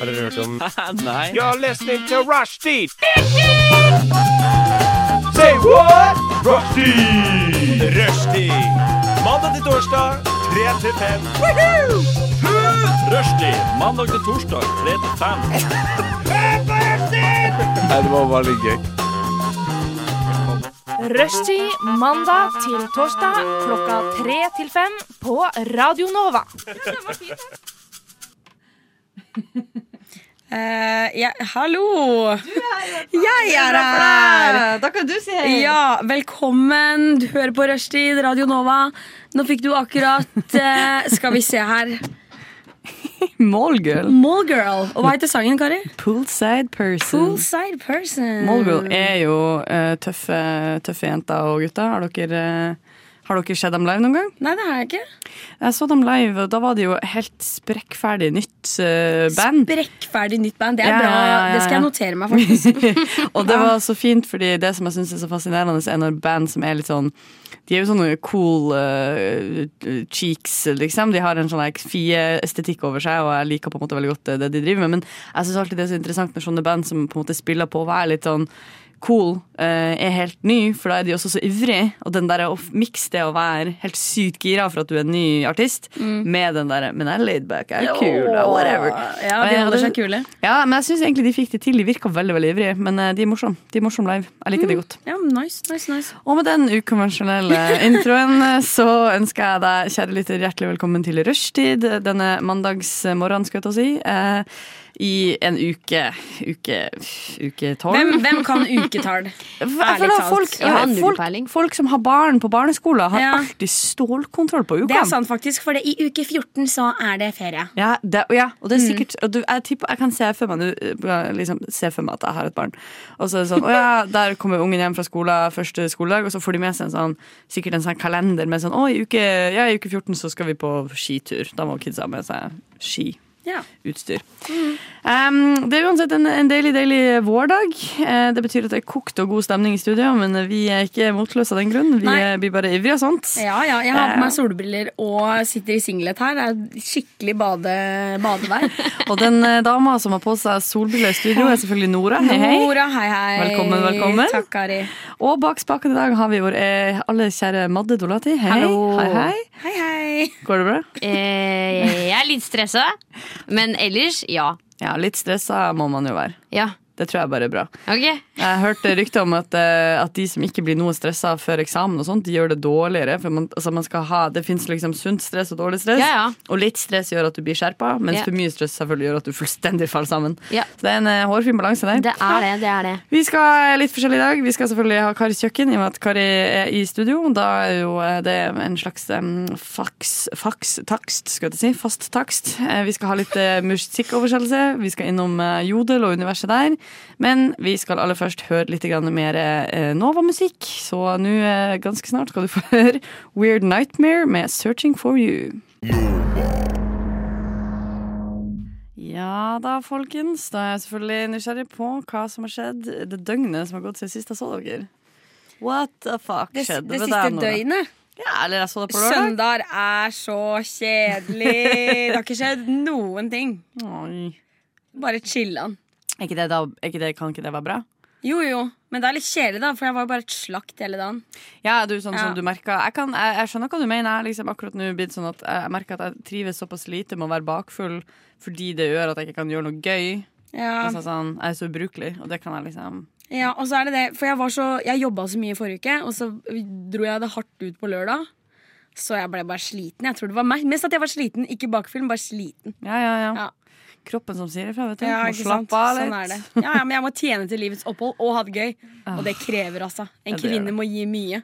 Har dere hørt om Nei. You're listening to Rushdie. Say what? Rushdie. Rushdie. Mandag til torsdag, 3 til 5. Rushdie. Mandag til torsdag, 3 til 5. Nei, det var bare litt gøy. Rushtid mandag til torsdag klokka tre til fem på Radio Nova. Eh, ja, hallo! Jeg er her! Da kan du si hei. Ja, velkommen. Du hører på Rushtid, Radio Nova. Nå fikk du akkurat eh, Skal vi se her. Mallgirl. Mallgirl. Og hva heter sangen, Kari? Poolside person. Poolside person. Mallgirl er jo eh, tøffe, tøffe jenter og gutter. Har dere, eh, har dere sett dem live noen gang? Nei, det har jeg ikke. Jeg så dem live, og da var det jo helt sprekkferdig nytt eh, band. Brekkferdig nytt band. Det er Ja, ja, bra. ja, ja, Det skal jeg ja. notere meg, faktisk. og det var så fint, fordi det som jeg syns er så fascinerende, er når band som er litt sånn De er jo sånne cool eh, cheeks, liksom. De har en sånn like, fie-estetikk over seg, og jeg liker på en måte veldig godt eh, det, det de driver med. Men jeg syns alltid det er så interessant når sånne band som på en måte spiller på å være litt sånn cool, eh, er helt ny, for da er de også så ivrige. Og den der å mikse det å være helt sykt gira for at du er en ny artist, med den derre 'men jeg er laid back, jeg er kul', jeg er whatever. Ja, Og de jeg- og holder det- seg kule. ja, men jeg syns egentlig de fikk det til. De virka veldig veldig ivrige, men eh, de er morsomme. De er morsomme live. Jeg liker de godt. Ja, nice, nice, nice. Og med den ukonvensjonelle introen eh, så ønsker jeg deg, kjære lytter, hjertelig velkommen til rushtid denne mandagsmorgenen, skal jeg til å si. eh, I en uke. Uke uke tolv. Hvem, hvem kan uketall? Jeg føler at folk, sånn? Jeg har null folk, peiling. folk som har barn på barneskolen, har Ja. alltid stålkontroll på Det er ukene. sant, faktisk. For det- i uke 14 så er det ferie. Ja, det, ja, og det er sikkert og du, jeg, tipper, jeg kan se for meg, nå, eh, liksom, se for meg at jeg har et barn. Og så er det sånn, å ja, Der kommer ungen hjem fra skolen første skoledag, og så får de med seg en sånn, sikkert en sånn kalender med sånn å, i uke, ja, i uke 14 så skal vi på skitur. Da må kidsa ha med seg skiutstyr. Ja. Um, det er uansett en, en deilig, deilig vårdag. Eh, det betyr at det er kokt og god stemning i studio, men vi er ikke motløse av den grunn. Vi Nei. eh, blir bare ivrige og sånt. Ja, ja, jeg har på Eh. meg solbriller og sitter i singlet her. Det er skikkelig bade, badevær. Og den eh, dama som har på seg solbriller i studio, er selvfølgelig Nora. Hei, hei. Nora, hei, hei. Velkommen, velkommen. Takk, Kari. Og bak spaken i dag har vi vår eh, alle kjære Madde Dolati. Hei. Hallo. Hei, hei. Hei, hei. Går det bra? eh, Jeg er litt stressa, men ellers ja. Ja, litt stressa må man jo være. Ja, Det tror jeg bare er bra. ok. Jeg hørte rykter om at, eh, at de som ikke blir noe stressa før eksamen, og sånt, de gjør det dårligere. For man, altså man skal ha, det fins liksom sunt stress og dårlig stress. Ja, ja. Og litt stress gjør at du blir skjerpa, mens Ja. for mye stress selvfølgelig gjør at du fullstendig faller sammen. Ja. Så det er en eh, hårfin balanse der. Det er det, det er det. Vi skal litt forskjellig i dag. Vi skal selvfølgelig ha Karis kjøkken, i og med at Kari er i studio. Da er jo eh, det en slags em, faks, faks, takst, skal jeg til å si. Fast takst. Eh, Vi skal ha litt eh, musikkoversettelse. Vi skal innom eh, Jodel og universet der. Men vi skal aller først høre litt grann mer eh, Nova-musikk. Så nå eh, ganske snart skal du få høre Weird Nightmare med Searching for you. Ja da, folkens. Da er jeg selvfølgelig nysgjerrig på hva som har skjedd det døgnet som har gått siden sist jeg så dere. What the fuck Det, skjedde det med siste deg nå? døgnet. Ja, eller jeg så det på lørdag. Søndag er så kjedelig. Det har ikke skjedd noen ting. Oi. Bare chilla'n. Er ikke det da, er ikke det, kan ikke det være bra? Jo, jo. Men det er litt kjedelig, da, for jeg var jo bare et slakt hele dagen. Ja, du, sånn Ja. som du merker jeg, kan, jeg, jeg skjønner hva du mener. Jeg har liksom akkurat nå blitt sånn at jeg merker at jeg trives såpass lite med å være bakfull fordi det gjør at jeg ikke kan gjøre noe gøy. Ja. Altså, sånn, jeg er så ubrukelig, og det kan jeg liksom Ja, og så er det det For jeg, var så, jeg jobba så mye forrige uke, og så dro jeg det hardt ut på lørdag. Så jeg ble bare sliten. Jeg tror det var meg- Mest at jeg var sliten, ikke bakfilm, bare sliten. Ja, ja, ja. Ja. Kroppen som sier ifra, vet du. Ja, Må ikke sant? slappe av litt. Sånn er det. Ja, ja, men jeg må tjene til livets opphold og ha det gøy. Og det krever, altså. En Ja, det gjør kvinne det. må gi mye.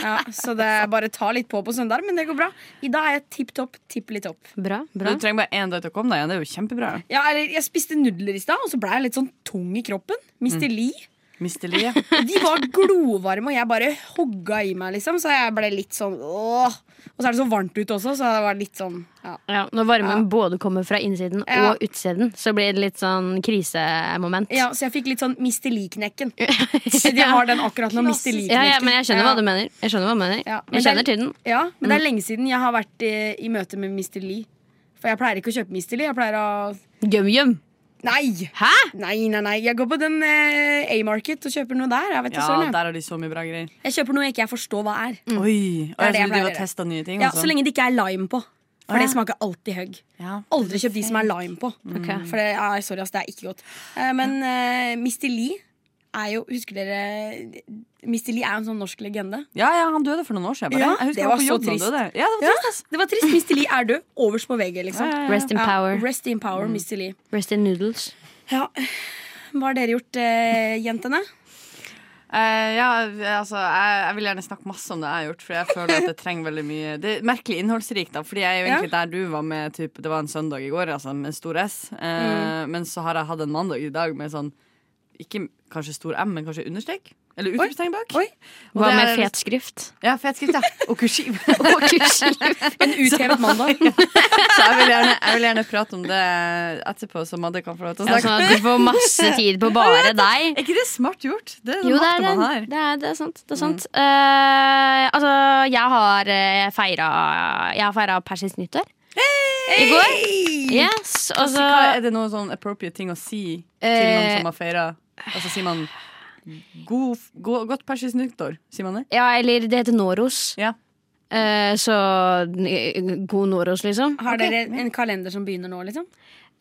Ja, så det er bare ta litt på på søndag, men det går bra. I dag er jeg tipp topp, tipp litt opp. Bra. bra Men Du trenger bare én dag til å komme deg igjen. Det er jo kjempebra. Ja, eller jeg spiste nudler i stad, og så ble jeg litt sånn tung i kroppen. Mr. Lee. Mister Lie. Og De var glovarme, og jeg bare hogga i meg, liksom. Så jeg ble litt sånn åh. Og så er det så varmt ute også, så det var litt sånn ja. ja, Når varmen både kommer fra innsiden Ja. og utsiden, så blir det litt sånn krisemoment. ja, Så jeg fikk litt sånn Mr. Lee-knekken. Jeg har den akkurat nå. Mr. Lee-knekken. Ja, ja, men jeg skjønner Ja. hva du mener. Mm. Jeg skjønner, hva du mener. Ja, men det jeg er- kjenner til den. Ja, men det er lenge siden jeg har vært eh, i møte med Mr. Lee. For jeg pleier ikke å kjøpe Mr. Lee. Jeg pleier å Gøm-gøm. Nei! Hæ? Nei, nei, nei. Jeg går på den eh, A-market og kjøper noe der. Jeg, vet ikke Ja, søren, jeg. der har de så mye bra greier. jeg kjøper noe jeg ikke forstår hva er. Mm, Oi, og er jeg trodde det jeg de pleier å var gjøre. testa nye ting. Ja, og Så sånn. lenge det ikke er lime på. Å, For ja. det smaker alltid høgg. Ja. Aldri kjøp de som er lime på. Mm. For det, ja, sorry, ass, det er ikke godt. Eh, men uh, Mr. Lee er jo Husker dere Mr. Lee er jo en sånn norsk legende. ja, ja, han døde for noen år siden. Bare. Ja, jeg husker det han på var så jobb da han trist. døde. Ja, det var Ja, trist, ass. det var trist. Mr. Lee er død. Overst på VG, liksom. Ja, ja, ja. Rest in Ja, power. Mm. Rest in power, Mr. Lee. Rest in noodles. Ja. Hva har dere gjort, eh, jentene? Eh, ja, altså, jeg, jeg vil gjerne snakke masse om det jeg har gjort, for jeg føler at det trenger veldig mye Det er merkelig innholdsrikt, da, fordi jeg er jo egentlig der du var med typ, Det var en søndag i går, altså, med stor S. Eh, Mm. Men så har jeg hatt en mandag i dag med sånn Ikke kanskje stor M, men kanskje understrek? Eller utropstegn bak? Oi. Og Hva det med er- liksom fet skrift? Ja, fet skrift, ja. Og kursiv. Og kursiv. En uthevet mandag. Så jeg vil, gjerne, jeg vil gjerne prate om det etterpå, så Madde kan få lov til å Ja, snakke. sånn at du får masse tid på bare deg. Er ikke det smart gjort? Det er Jo, det er, makten man det. har. Det er, det er sant. Det er sant. Mm. Eh, altså, jeg har eh, feira Jeg har feira persisk nyttår. I går. Yes. Og så Hva- er det noen sånn appropriate ting å si til noen Eh. som har feira? Altså sier man god, f- go- godt persisk nyttår? Sier man det? Ja, eller det heter Noros. Ja. Eh, så n- god Noros, liksom. Har dere en kalender som begynner nå, liksom?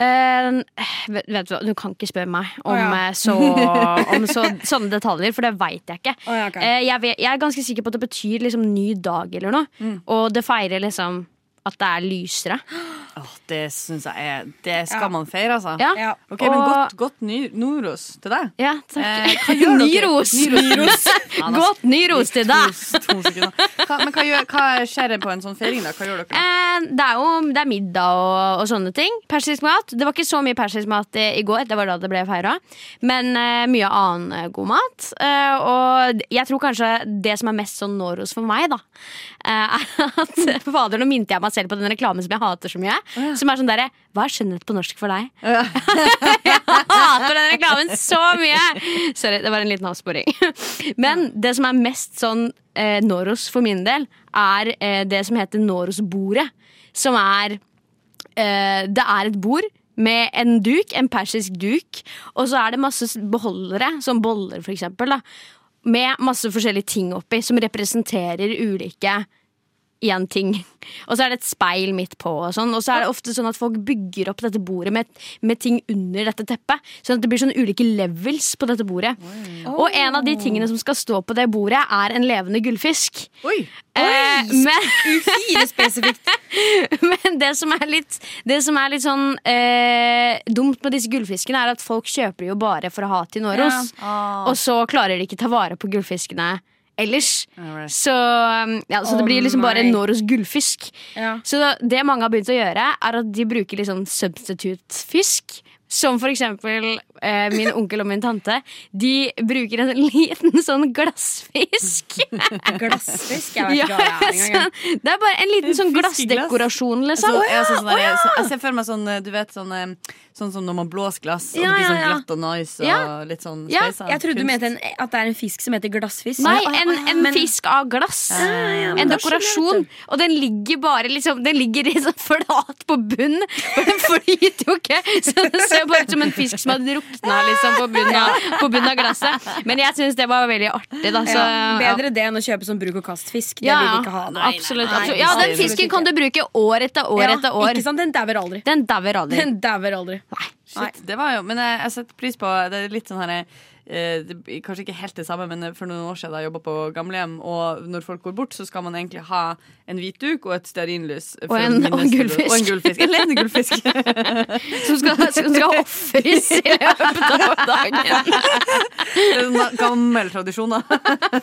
Eh, vet, vet du hva, du kan ikke spørre meg om, Å, ja. eh, så, om så, sånne detaljer, for det veit jeg ikke. Å, ja, ok. Eh, jeg, vet, jeg er ganske sikker på at det betyr liksom ny dag eller noe, Mm. og det feirer liksom at det er lysere. Eh, Åh, det syns jeg er Det skal Ja. man feire, altså. Ja. Ja. Ok, men Og- godt, godt ny, Noros til deg. Eh, Ja, takk. hva gjør ny dere? ros! Ny ros. Ja, da- Godt ny ros til deg! To, to sekunder. Hva, men hva, gjør, hva skjer på en sånn feiring, da? Hva gjør dere? Eh, det er jo det er middag og, og sånne ting. Persisk mat. Det var ikke så mye persisk mat i, i går, det var da det ble feira. Men eh, mye annen eh, god mat. Eh, og jeg tror kanskje det som er mest sånn Noros for meg, da, eh, er at Fader, nå minte jeg meg selv på den reklamen som jeg hater så mye. Som er sånn derre Hva er skjønnhet på norsk for deg? jeg hater den reklamen så mye! Sorry, det var en liten avsporing. Men det som er mest sånn eh, Noros for min del, er eh, det som heter Noros-bordet. Som er eh, Det er et bord. Med en duk, en persisk duk, og så er det masse s- beholdere, som boller for eksempel, da, med masse forskjellige ting oppi, som representerer ulike én ting. Og så er det et speil midt på. Og sånn Og så er det ofte sånn at folk bygger opp dette bordet med, med ting under dette teppet. Sånn at det blir sånn ulike levels på dette bordet. Og en av de tingene som skal stå på det bordet, er en levende gullfisk. Oi! Eh, men, Fire spesifikt. men det som er litt, det som er litt sånn eh, dumt med disse gullfiskene, er at folk kjøper de jo bare for å ha til Noros. Og så klarer de ikke ta vare på gullfiskene ellers. Alright. Så, um, ja, så det Å, blir liksom bare nei. Noros gullfisk. Ja. Så da- det mange har begynt å gjøre, er at de bruker liksom substitute-fisk. Som for eksempel eh, min onkel og min tante. De bruker en liten sånn glassfisk. Glassfisk. Jeg vet Ja, ikke hva det er engang. jeg. sånn, det er bare en liten sånn Fiskeglass. glassdekorasjon, Så, liksom. ja, sånn, sånn, der- så, jeg ser for meg sånn, eh, du vet, sånn, eh, sånn som når man blåser glass, og Ja, det blir ja, sånn ja. glatt og nice og Ja. litt sånn Ja, sveisa. Jeg trodde du Kunst. mente en, at det er en fisk som heter glassfisk. Nei, Å, ja, en, å, ja, en men- fisk av glass. men en da skjønner jeg dekorasjon. Og den ligger bare liksom Den ligger liksom flat på bunnen, for den flyter jo ikke. Så det ser bare ut som en fisk som har drukna liksom, på, bunnen av, på bunnen av glasset. Men jeg syns det var veldig artig, da. Så, ja, ja. bedre det enn å kjøpe sånn bruk og kast-fisk. Det Ja, vil ja. vi ikke ha. absolutt, Nei, absolutt. Ja, den absolutt fisken ikke. kan du bruke år etter år etter Ja, år. Ikke sant? Den dauer aldri. Den dauer aldri. Den dauer aldri. Nei. Shit, det var jo, men eh, jeg, jeg setter pris på Det er litt sånn her eh, det, blir Kanskje ikke helt det samme, men eh, for noen år siden da jeg jobba på gamlehjem, og når folk går bort, så skal man egentlig ha en hvit duk og et stearinlys. eh, for Og en- å minnes- og en gullfisk. Og en gullfisk. En levende gullfisk. Som skal, som skal ofres i løpet av dagen. Det er en gammel tradisjon, da.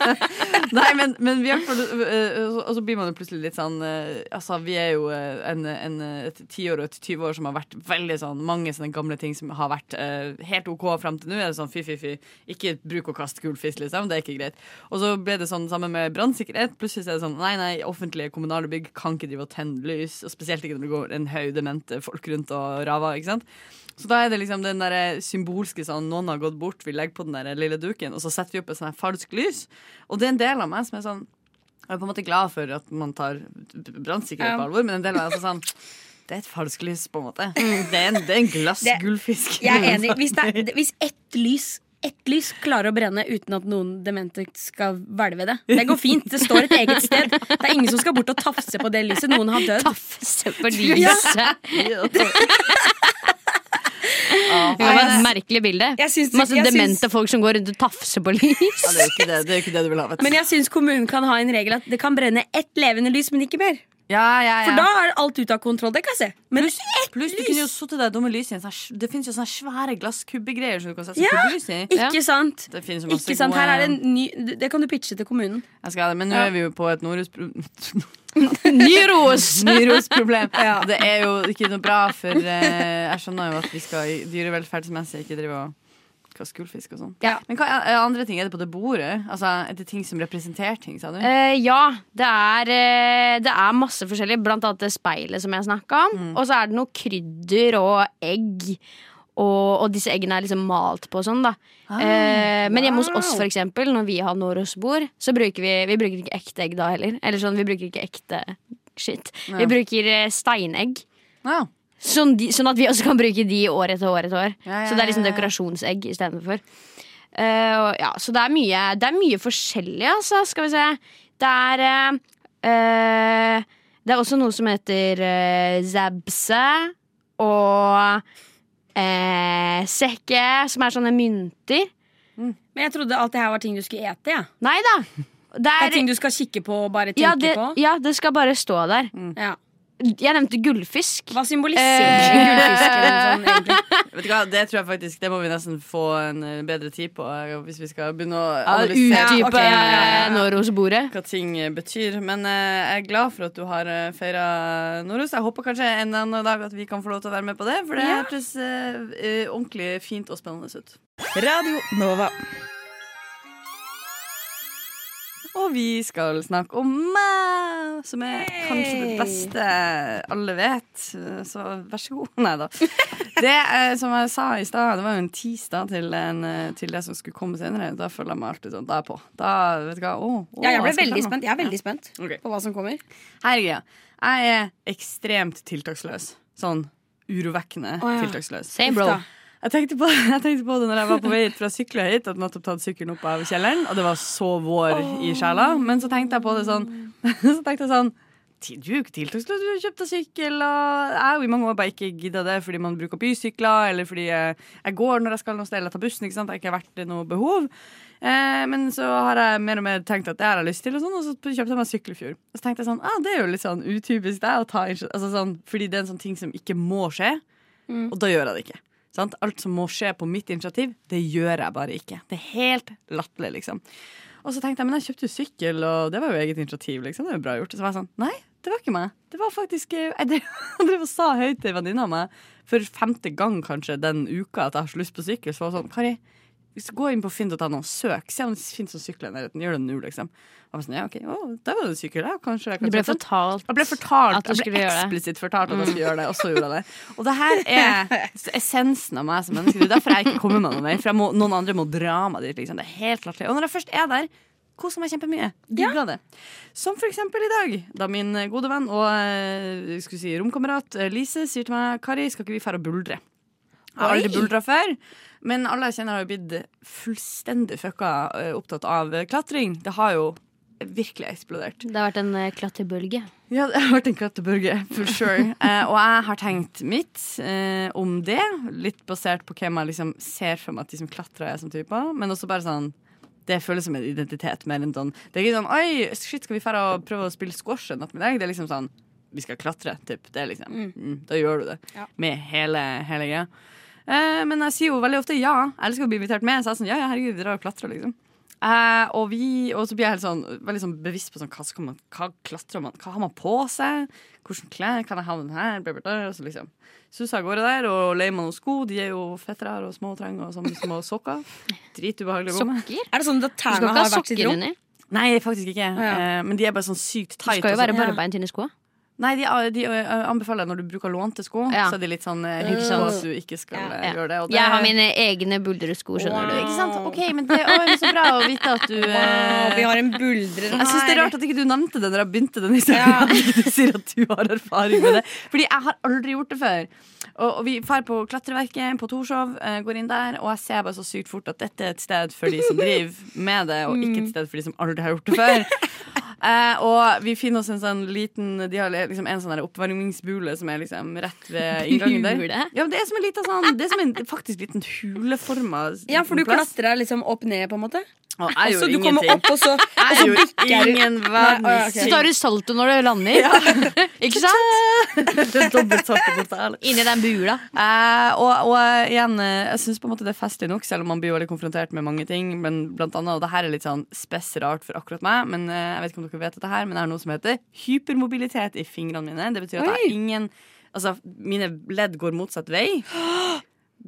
Nei, men, men vi er, og så blir man jo plutselig litt sånn eh, Altså, vi er jo eh, en, en, et tiår og et tyveår som har vært veldig sånn Mange sånne gamle ting som har vært eh, helt OK fram til nå. Er det sånn fy, fy, fy. Ikke bruk og kast gullfisk, liksom. Det er ikke greit. Og så ble det sånn sammen med brannsikkerhet. Plutselig så er det sånn nei, nei, offentlige kommunale bygg kan ikke drive og tenne lys. Og spesielt ikke når det går en haug demente folk rundt og raver, ikke sant. Så da er det liksom den der symbolske sånn Noen har gått bort, vi legger på den der lille duken Og så setter vi opp et sånn her falsk lys Og det er en del av meg som er sånn Jeg er på en måte glad for at man tar brannsikkerhet Ja. på alvor Men en del av meg er sånn Det er et falskt lys, på en måte. Det er en, det er en glass Mm. Det- gullfisk. Jeg er enig. Hvis, det er, hvis ett lys ett lys klarer å brenne uten at noen demente skal hvelve det. Det går fint. Det står et eget sted. Det er ingen som skal bort og tafse på det lyset. Noen har dødd. Tafse på lyset. Ja, Det var et merkelig bilde. Jeg syns- Masse jeg syns- demente folk som går rundt og tafser på lys. det er jo ikke det, det, er jo ikke det du vil ha, vet du. Men jeg syns kommunen kan ha en regel at det kan brenne ett levende lys, men ikke mer. Ja, ja, ja. For da er alt ute av kontroll. Det kan jeg se. Men ett Pluss du kunne jo suttet det dumme lyset i en sånn sj- Det finnes jo sånne svære glasskubbegreier som du kan sette Ja. kubbelys i. Ja. Ikke sant? Det finnes jo masse Ikke sant? gode Her er det en ny Det kan du pitche til kommunen. Jeg skal ha det, Men nå er vi jo på et Nordhus... Nyros! Nyrosproblem. Det er jo ikke noe bra, for eh, jeg skjønner jo at vi skal i dyrevelferdsmessig ikke drive og kaste gullfisk og sånn. Ja. Men hva er er andre ting? Er det på det bordet? Altså, er det ting som representerer ting, sa du? Eh, ja, det er, eh, det er masse forskjellig. Blant annet det speilet som jeg snakka om. Og så er det noe krydder og egg. Og, og disse eggene er liksom malt på og sånn, da. Eh, men hjemme hos oss, for eksempel, når vi har Noros-bord, så bruker vi, vi bruker ikke ekte egg da heller. Eller sånn, vi bruker ikke ekte shit. Ja. Vi bruker eh, steinegg. Ja. Sånn, de, sånn at vi også kan bruke de år etter år etter år. Ja, ja, Så det er liksom ja, ja. dekorasjonsegg istedenfor. Eh, og ja, så det er mye, det er mye forskjellig, altså. Skal vi se. Det er eh, eh, Det er også noe som heter eh, zabse og eh, sekke, som er sånne mynter. Men jeg trodde alt det her var ting du skulle ete. Ja. Nei da! Det Det er er, ting du skal kikke på og bare tenke ja, det, på. Mm. ja, det skal bare stå der. Ja. Jeg nevnte gullfisk. Hva Eh. symboliserer gullfisken sånn egentlig? Vet du hva, Det tror jeg faktisk Det må vi nesten få en eh, bedre tid på eh, hvis vi skal begynne å Utdype analysere ok, ja, ja, eh, ja. Noros-bordet. hva ting eh, betyr. Men eh, jeg er glad for at du har uh, feira Norus. Jeg håper kanskje en eller annen dag at vi kan få lov til å være med på det, for det hørtes eh, eh, ordentlig fint og spennende ut. Radio Nova. Og vi skal snakke om meg, som er kanskje det beste alle vet. Så vær så god. Nei da. Det eh, som jeg sa i stad, det var jo en tirsdag til, en, eh, til det som skulle komme senere. Da føler jeg meg alltid sånn. Da er jeg på. Da, vet du hva, å, å, Ja, jeg ble skal veldig frem nå. spent. Jeg er veldig spent Ok. på hva som kommer. Her er greia. Jeg er ekstremt tiltaksløs. Sånn urovekkende Å, ja. tiltaksløs. Same, bro. Uff da. Jeg tenkte, på, jeg tenkte på det når jeg var på vei hit fra å sykle hit. Hadde nettopp tatt sykkelen opp av kjelleren, og det var så vår i sjela. Men så tenkte jeg på det sånn. Så tenkte jeg sånn «Ti- Du er jo ikke tiltaksløs, du har kjøpt deg sykkel. Og jeg har jo i mange år bare ikke gidda det fordi man bruker bysykler, eller fordi jeg, jeg går når jeg skal noe sted, eller tar bussen. ikke sant? Det har ikke vært noe behov. Eh, men så har jeg mer og mer tenkt at det har jeg lyst til, og sånn, og så kjøpte jeg meg sykkel i fjor. Og så tenkte jeg sånn, ah, det er jo litt sånn utypisk deg å ta initiativ altså sånn, Fordi det er en sånn ting som ikke må skje, og da gjør jeg det ikke. Sant? Alt som må skje på mitt initiativ, det gjør jeg bare ikke. Det er helt latterlig, liksom. Og så tenkte jeg, men jeg kjøpte jo sykkel, og det var jo eget initiativ, liksom. Det er jo bra gjort. Og så var jeg sånn, nei, det var ikke meg. Det var faktisk eh, Jeg drev, jeg drev og sa høyt til venninna mi for femte gang kanskje den uka at jeg har så lyst på sykkel, så var hun sånn, Kari, hvis du går inn på finn.no og søk, se om det finnes noen sykler i nærheten, gjør det nå, liksom. Og jeg var sånn, ja, ok, å, der var det en sykkel, ja, kanskje jeg kan Du ble kjøpe den.» fortalt Jeg ble fortalt, at du jeg skulle ble gjøre det. Mm. eksplisitt fortalt at jeg skulle gjøre det, og så gjorde jeg det. Og det her er essensen av meg som menneske. Det er derfor jeg ikke kommer meg noe mer. For jeg må, noen andre må dra meg dit. Liksom. Det er helt latterlig. Og når jeg først er der, koser meg kjempemye. Digga det. Som for eksempel i dag, da min gode venn og eh, jeg skulle si, romkamerat eh, Lise sier til meg Kari, skal ikke vi fære og buldre? Jeg har aldri buldra før, men alle jeg kjenner har jo blitt fullstendig fucka eh, opptatt av eh, klatring. Det har jo virkelig eksplodert. Det har vært en eh, klattebølge. Ja, det har vært en klatteburger, for sure. Eh, og jeg har tenkt mitt eh, om det, litt basert på hvem jeg liksom ser for meg at de som klatrer er som typer. Men også bare sånn Det føles som en identitet mer enn sånn Det er ikke sånn Oi, shit, skal vi fære og prøve å spille squash en ettermiddag? Det er liksom sånn Vi skal klatre, typ. Det er liksom mm, Da gjør du det. Med hele, hele greia. Eh, men jeg sier jo veldig ofte ja. Jeg elsker å bli invitert med, så jeg er sånn ja, ja, herregud, vi drar og klatrer, liksom. Eh, og, vi, og så blir jeg helt sånn, veldig sånn bevisst på sånn, hva, skal man, hva klatrer man Hva har man på seg? Hvordan klær kan jeg ha den her? Bla, bla, bla. Og så liksom suser av gårde der og leier meg noen sko. De er jo fettere og små og trange og sånne små sokker. Dritubehagelig å gå med. Sokker? Er det sånn at Du skal tærne ikke har ha hvert sitt sokker rom? inni. Nei, faktisk ikke. ja. Eh, men de er bare sånn sykt Du tight. skal jo og sånn. være barbeint inni skoa. Nei, de, de ø, anbefaler når du bruker lånte sko. Ja. Så er de litt sånn eh, Ikke hypp på sant. at du ikke skal eh, Ja. gjøre det. Og det Jeg har mine egne buldresko, skjønner Ikke du. sant? Ok, men det å, men så bra å vite at du eh, vi har en buldrer her. Jeg syns det er rart at ikke du nevnte det når jeg begynte den historien. At ikke du sier at du har erfaring med det. Fordi jeg har aldri gjort det før. Og, og vi drar på Klatreverket på Torshov, eh, går inn der, og jeg ser bare så sykt fort at dette er et sted for de som driver med det, og Mm. ikke et sted for de som aldri har gjort det før. Eh, og vi finner oss en sånn liten De har liksom en sånn der oppvarmingsbule som er liksom rett ved inngangen der. Bule? Ja, men det er som en liten sånn Det er som en faktisk liten huleforma Ja, for du plass. klatra liksom opp ned, på en måte? Og jeg gjorde Så du kommer ingenting. opp, og så Jeg gjorde ingen Nei, verdens å, ja, ok. Så tar du salto når du lander. Ikke sant? Inni den bula. Eh, og, og igjen, eh, jeg syns på en måte det er festlig nok, selv om man blir veldig konfrontert med mange ting. Men blant annet, og det her er litt sånn spess rart for akkurat meg, men eh, jeg vet ikke om dere vet dette her, men jeg har noe som heter hypermobilitet i fingrene mine. Det betyr at jeg har ingen Altså, mine ledd går motsatt vei.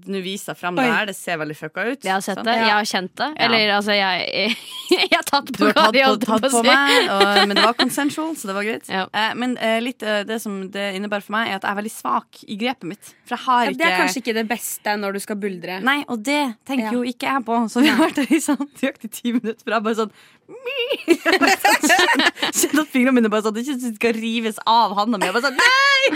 Nå viser jeg frem det her, det ser veldig fucka ut. Jeg har sett sant? det. Jeg har kjent det. Eller altså, jeg, jeg har tatt Du på har hva tatt de på, holdt tatt på på å si. meg, og, men det var consensual, så det var greit. Ja. Eh, men eh, litt, eh, det som det innebærer for meg, er at jeg er veldig svak i grepet mitt. For jeg har Ja, ikke Det er kanskje ikke det beste når du skal buldre. Nei, og det tenker Ja. jo ikke jeg på. Så vi har vært der i sånn nøyaktig ti minutter, for jeg bare sånn mi. Kjente sånn at fingrene mine bare sånn Ikke synes de skal rives av handa mi. Jeg bare sånn Nei!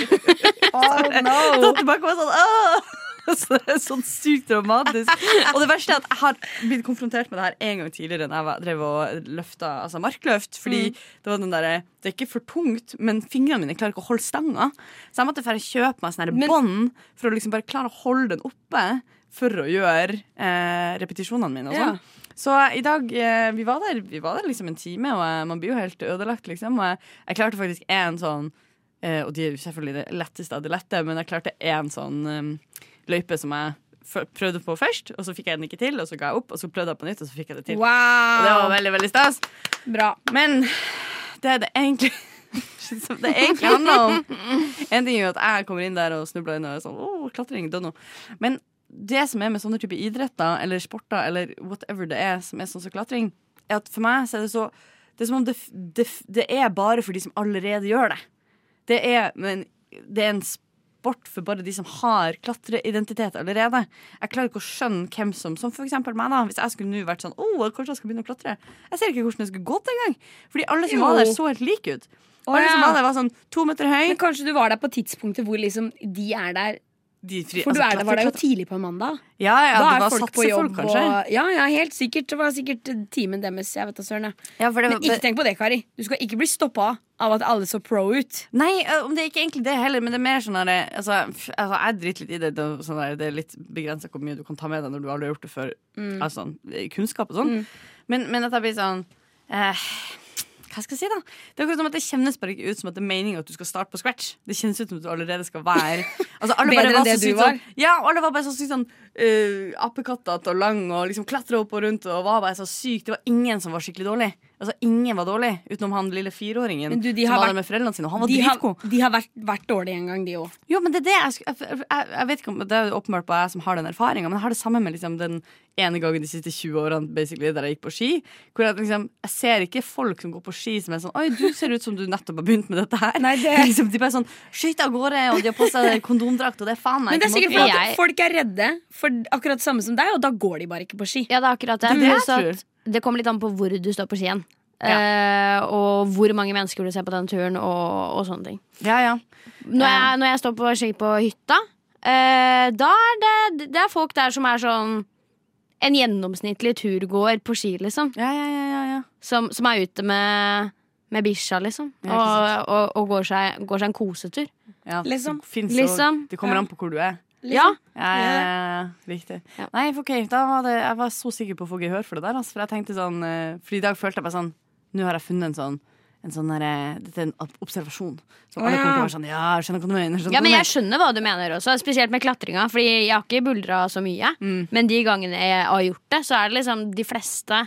Så jeg tilbake og bare sånn Åh! Så det er sånn sykt dramatisk. Og det verste er at jeg har blitt konfrontert med det her en gang tidligere når jeg var- drev og løfta altså markløft. Fordi det var den derre Det er ikke for tungt, men fingrene mine klarer ikke å holde stanga. Så jeg måtte bare kjøpe meg sånne her bånd for å liksom bare klare å holde den oppe for å gjøre eh, repetisjonene mine. og sånn. Så i dag, eh, vi var der, vi var der liksom en time, og eh, man blir jo helt ødelagt, liksom. Og jeg, jeg klarte faktisk én sånn eh, Og de er jo selvfølgelig det letteste av det lette, men jeg klarte én sånn eh, løype som jeg f- prøvde på først, og så fikk jeg den ikke til, og så ga jeg opp, og så prøvde jeg på nytt, og så fikk jeg det til. Og det var Wow! veldig, veldig stas. Bra. Men det er det egentlig som det egentlig handler om. En ting er jo at jeg kommer inn der og snubler inn og er sånn Åh, klatring, dunno. Men det som er med sånne type idretter eller sporter eller whatever det er som er sånn som klatring, er at for meg så er det så Det er som om det, f- det, f- det er bare for de som allerede gjør det. Det er, men, det er en sport for bare de som har klatreidentitet allerede. Jeg klarer ikke å skjønne hvem som Som for eksempel meg, da. Hvis jeg skulle nå vært sånn Åh, kanskje jeg skal begynne å klatre. Jeg ser ikke hvordan det skulle gått engang. Fordi alle som var der, så helt like ut. Alle som ja. var der, var sånn to meter høy. Men kanskje du var der på tidspunktet hvor liksom de er der. De fri- For du altså, er der, var der jo klatre- tidlig på en mandag. Ja, ja, da det er var folk på satsefolk, jobb. Og, kanskje. ja, ja, helt sikkert. Det var sikkert timen deres. Jeg vet da søren. jeg. Ja, for det Men var- ikke tenk på det, Kari. Du skal ikke bli stoppa av at alle så pro ut. Nei, ø, om det er ikke egentlig det heller, men det er mer sånn derre altså, f- altså, jeg driter litt i det. Det er, sånn der, det er litt begrensa hvor mye du kan ta med deg når du aldri har gjort det før. Mm. Altså, kunnskap og sånn. Men, men at jeg blir sånn eh, Hva skal jeg si, da? Det er akkurat som at det kjennes bare ikke ut som at det er meninga at du skal starte på scratch. Det kjennes ut som at du allerede skal være altså, alle Bedre bare var enn det så du sykt var. Sånn, ja, og alle var bare så sykt sånn uh, apekattete og lang og liksom klatra opp og rundt og var bare så sykt. Det var ingen som var skikkelig dårlig. Altså, ingen var dårlig, utenom han lille fireåringen Men du, de som har var vært- der med foreldrene sine. og Han var De har, dritgod. de har vært, vært dårlige en gang, de òg. Jo, men det er det jeg, sku- jeg, jeg, jeg vet ikke om Det er jo åpenbart bare jeg som har den erfaringa, men jeg har det samme med liksom, den ene gangen de siste 20 årene basically, der jeg gikk på ski. Hvor jeg, liksom, jeg ser ikke folk som går på ski som er sånn Oi, du ser ut som du nettopp har begynt med dette her. Nei, det- liksom, de bare sånn Skyter av gårde, og de har på seg kondomdrakt, og det er faen meg Men det er ikke sikkert måte- for- fordi at Jeg- folk er redde for akkurat det samme som deg, og da går de bare ikke på ski. Ja, det er akkurat det. Det er det jeg Pluss at tror. det kommer litt an på hvor du står på skien. Eh, og hvor mange mennesker du ser på den turen, og, og sånne ting. Ja, ja. Når jeg, når jeg står på ski på hytta, eh, da er det, det er folk der som er sånn en gjennomsnittlig turgåer på ski, liksom. Ja, ja, ja, ja, ja. Som, som er ute med, med bikkja, liksom. Ja, og ikke og, og går, seg, går seg en kosetur. ja det Liksom. finnes Liksom. jo, det kommer an på hvor du er. Ja, Ja, ja, ja, ja. Riktig. Ja. Nei, for ok, da var det, jeg var så sikker på å få gehør for det der. Altså, for jeg tenkte sånn, eh, for i dag følte jeg bare sånn Nå har jeg funnet en sånn en sånn der, eh, Dette er en ob- observasjon. Så alle kommer til å være sånn Ja, jeg skjønner hva du mener. skjønner ja, hva men du jeg skjønner hva du mener også, spesielt med klatringa. Fordi jeg har ikke buldra så mye. Mm. Men de gangene jeg har gjort det, så er det liksom de fleste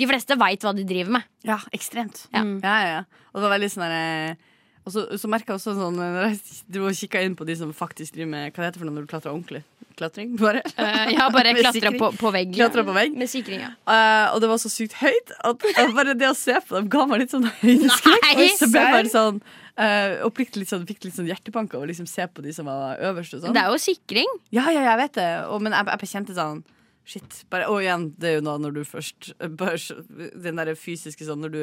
De fleste veit hva de driver med. mener. ja, ekstremt. Ja. Ja, ja, ja. Og det var veldig sånn der, eh, Og så, så merka jeg også sånn Når jeg dro og kikka inn på de som faktisk driver med Hva det heter for noe når du klatrer ordentlig? Klatring, bare? Eh, jeg har bare Med klatra sikring. på, på vegg. Klatra på vegg. Med sikring, ja. Eh, og det var så sykt høyt at at bare det å se på dem ga meg litt sånn høydeskrekk. Nei, Så ble jeg bare sånn eh, oppriktig litt sånn, fikk litt sånn hjertebank av å liksom se på de som var øverst og sånn. Det er jo sikring. Ja, ja, jeg vet det. Og, men jeg, jeg kjente sånn Shit. Bare, og igjen, det er jo da når du først bare, så- Den derre fysiske sånn når du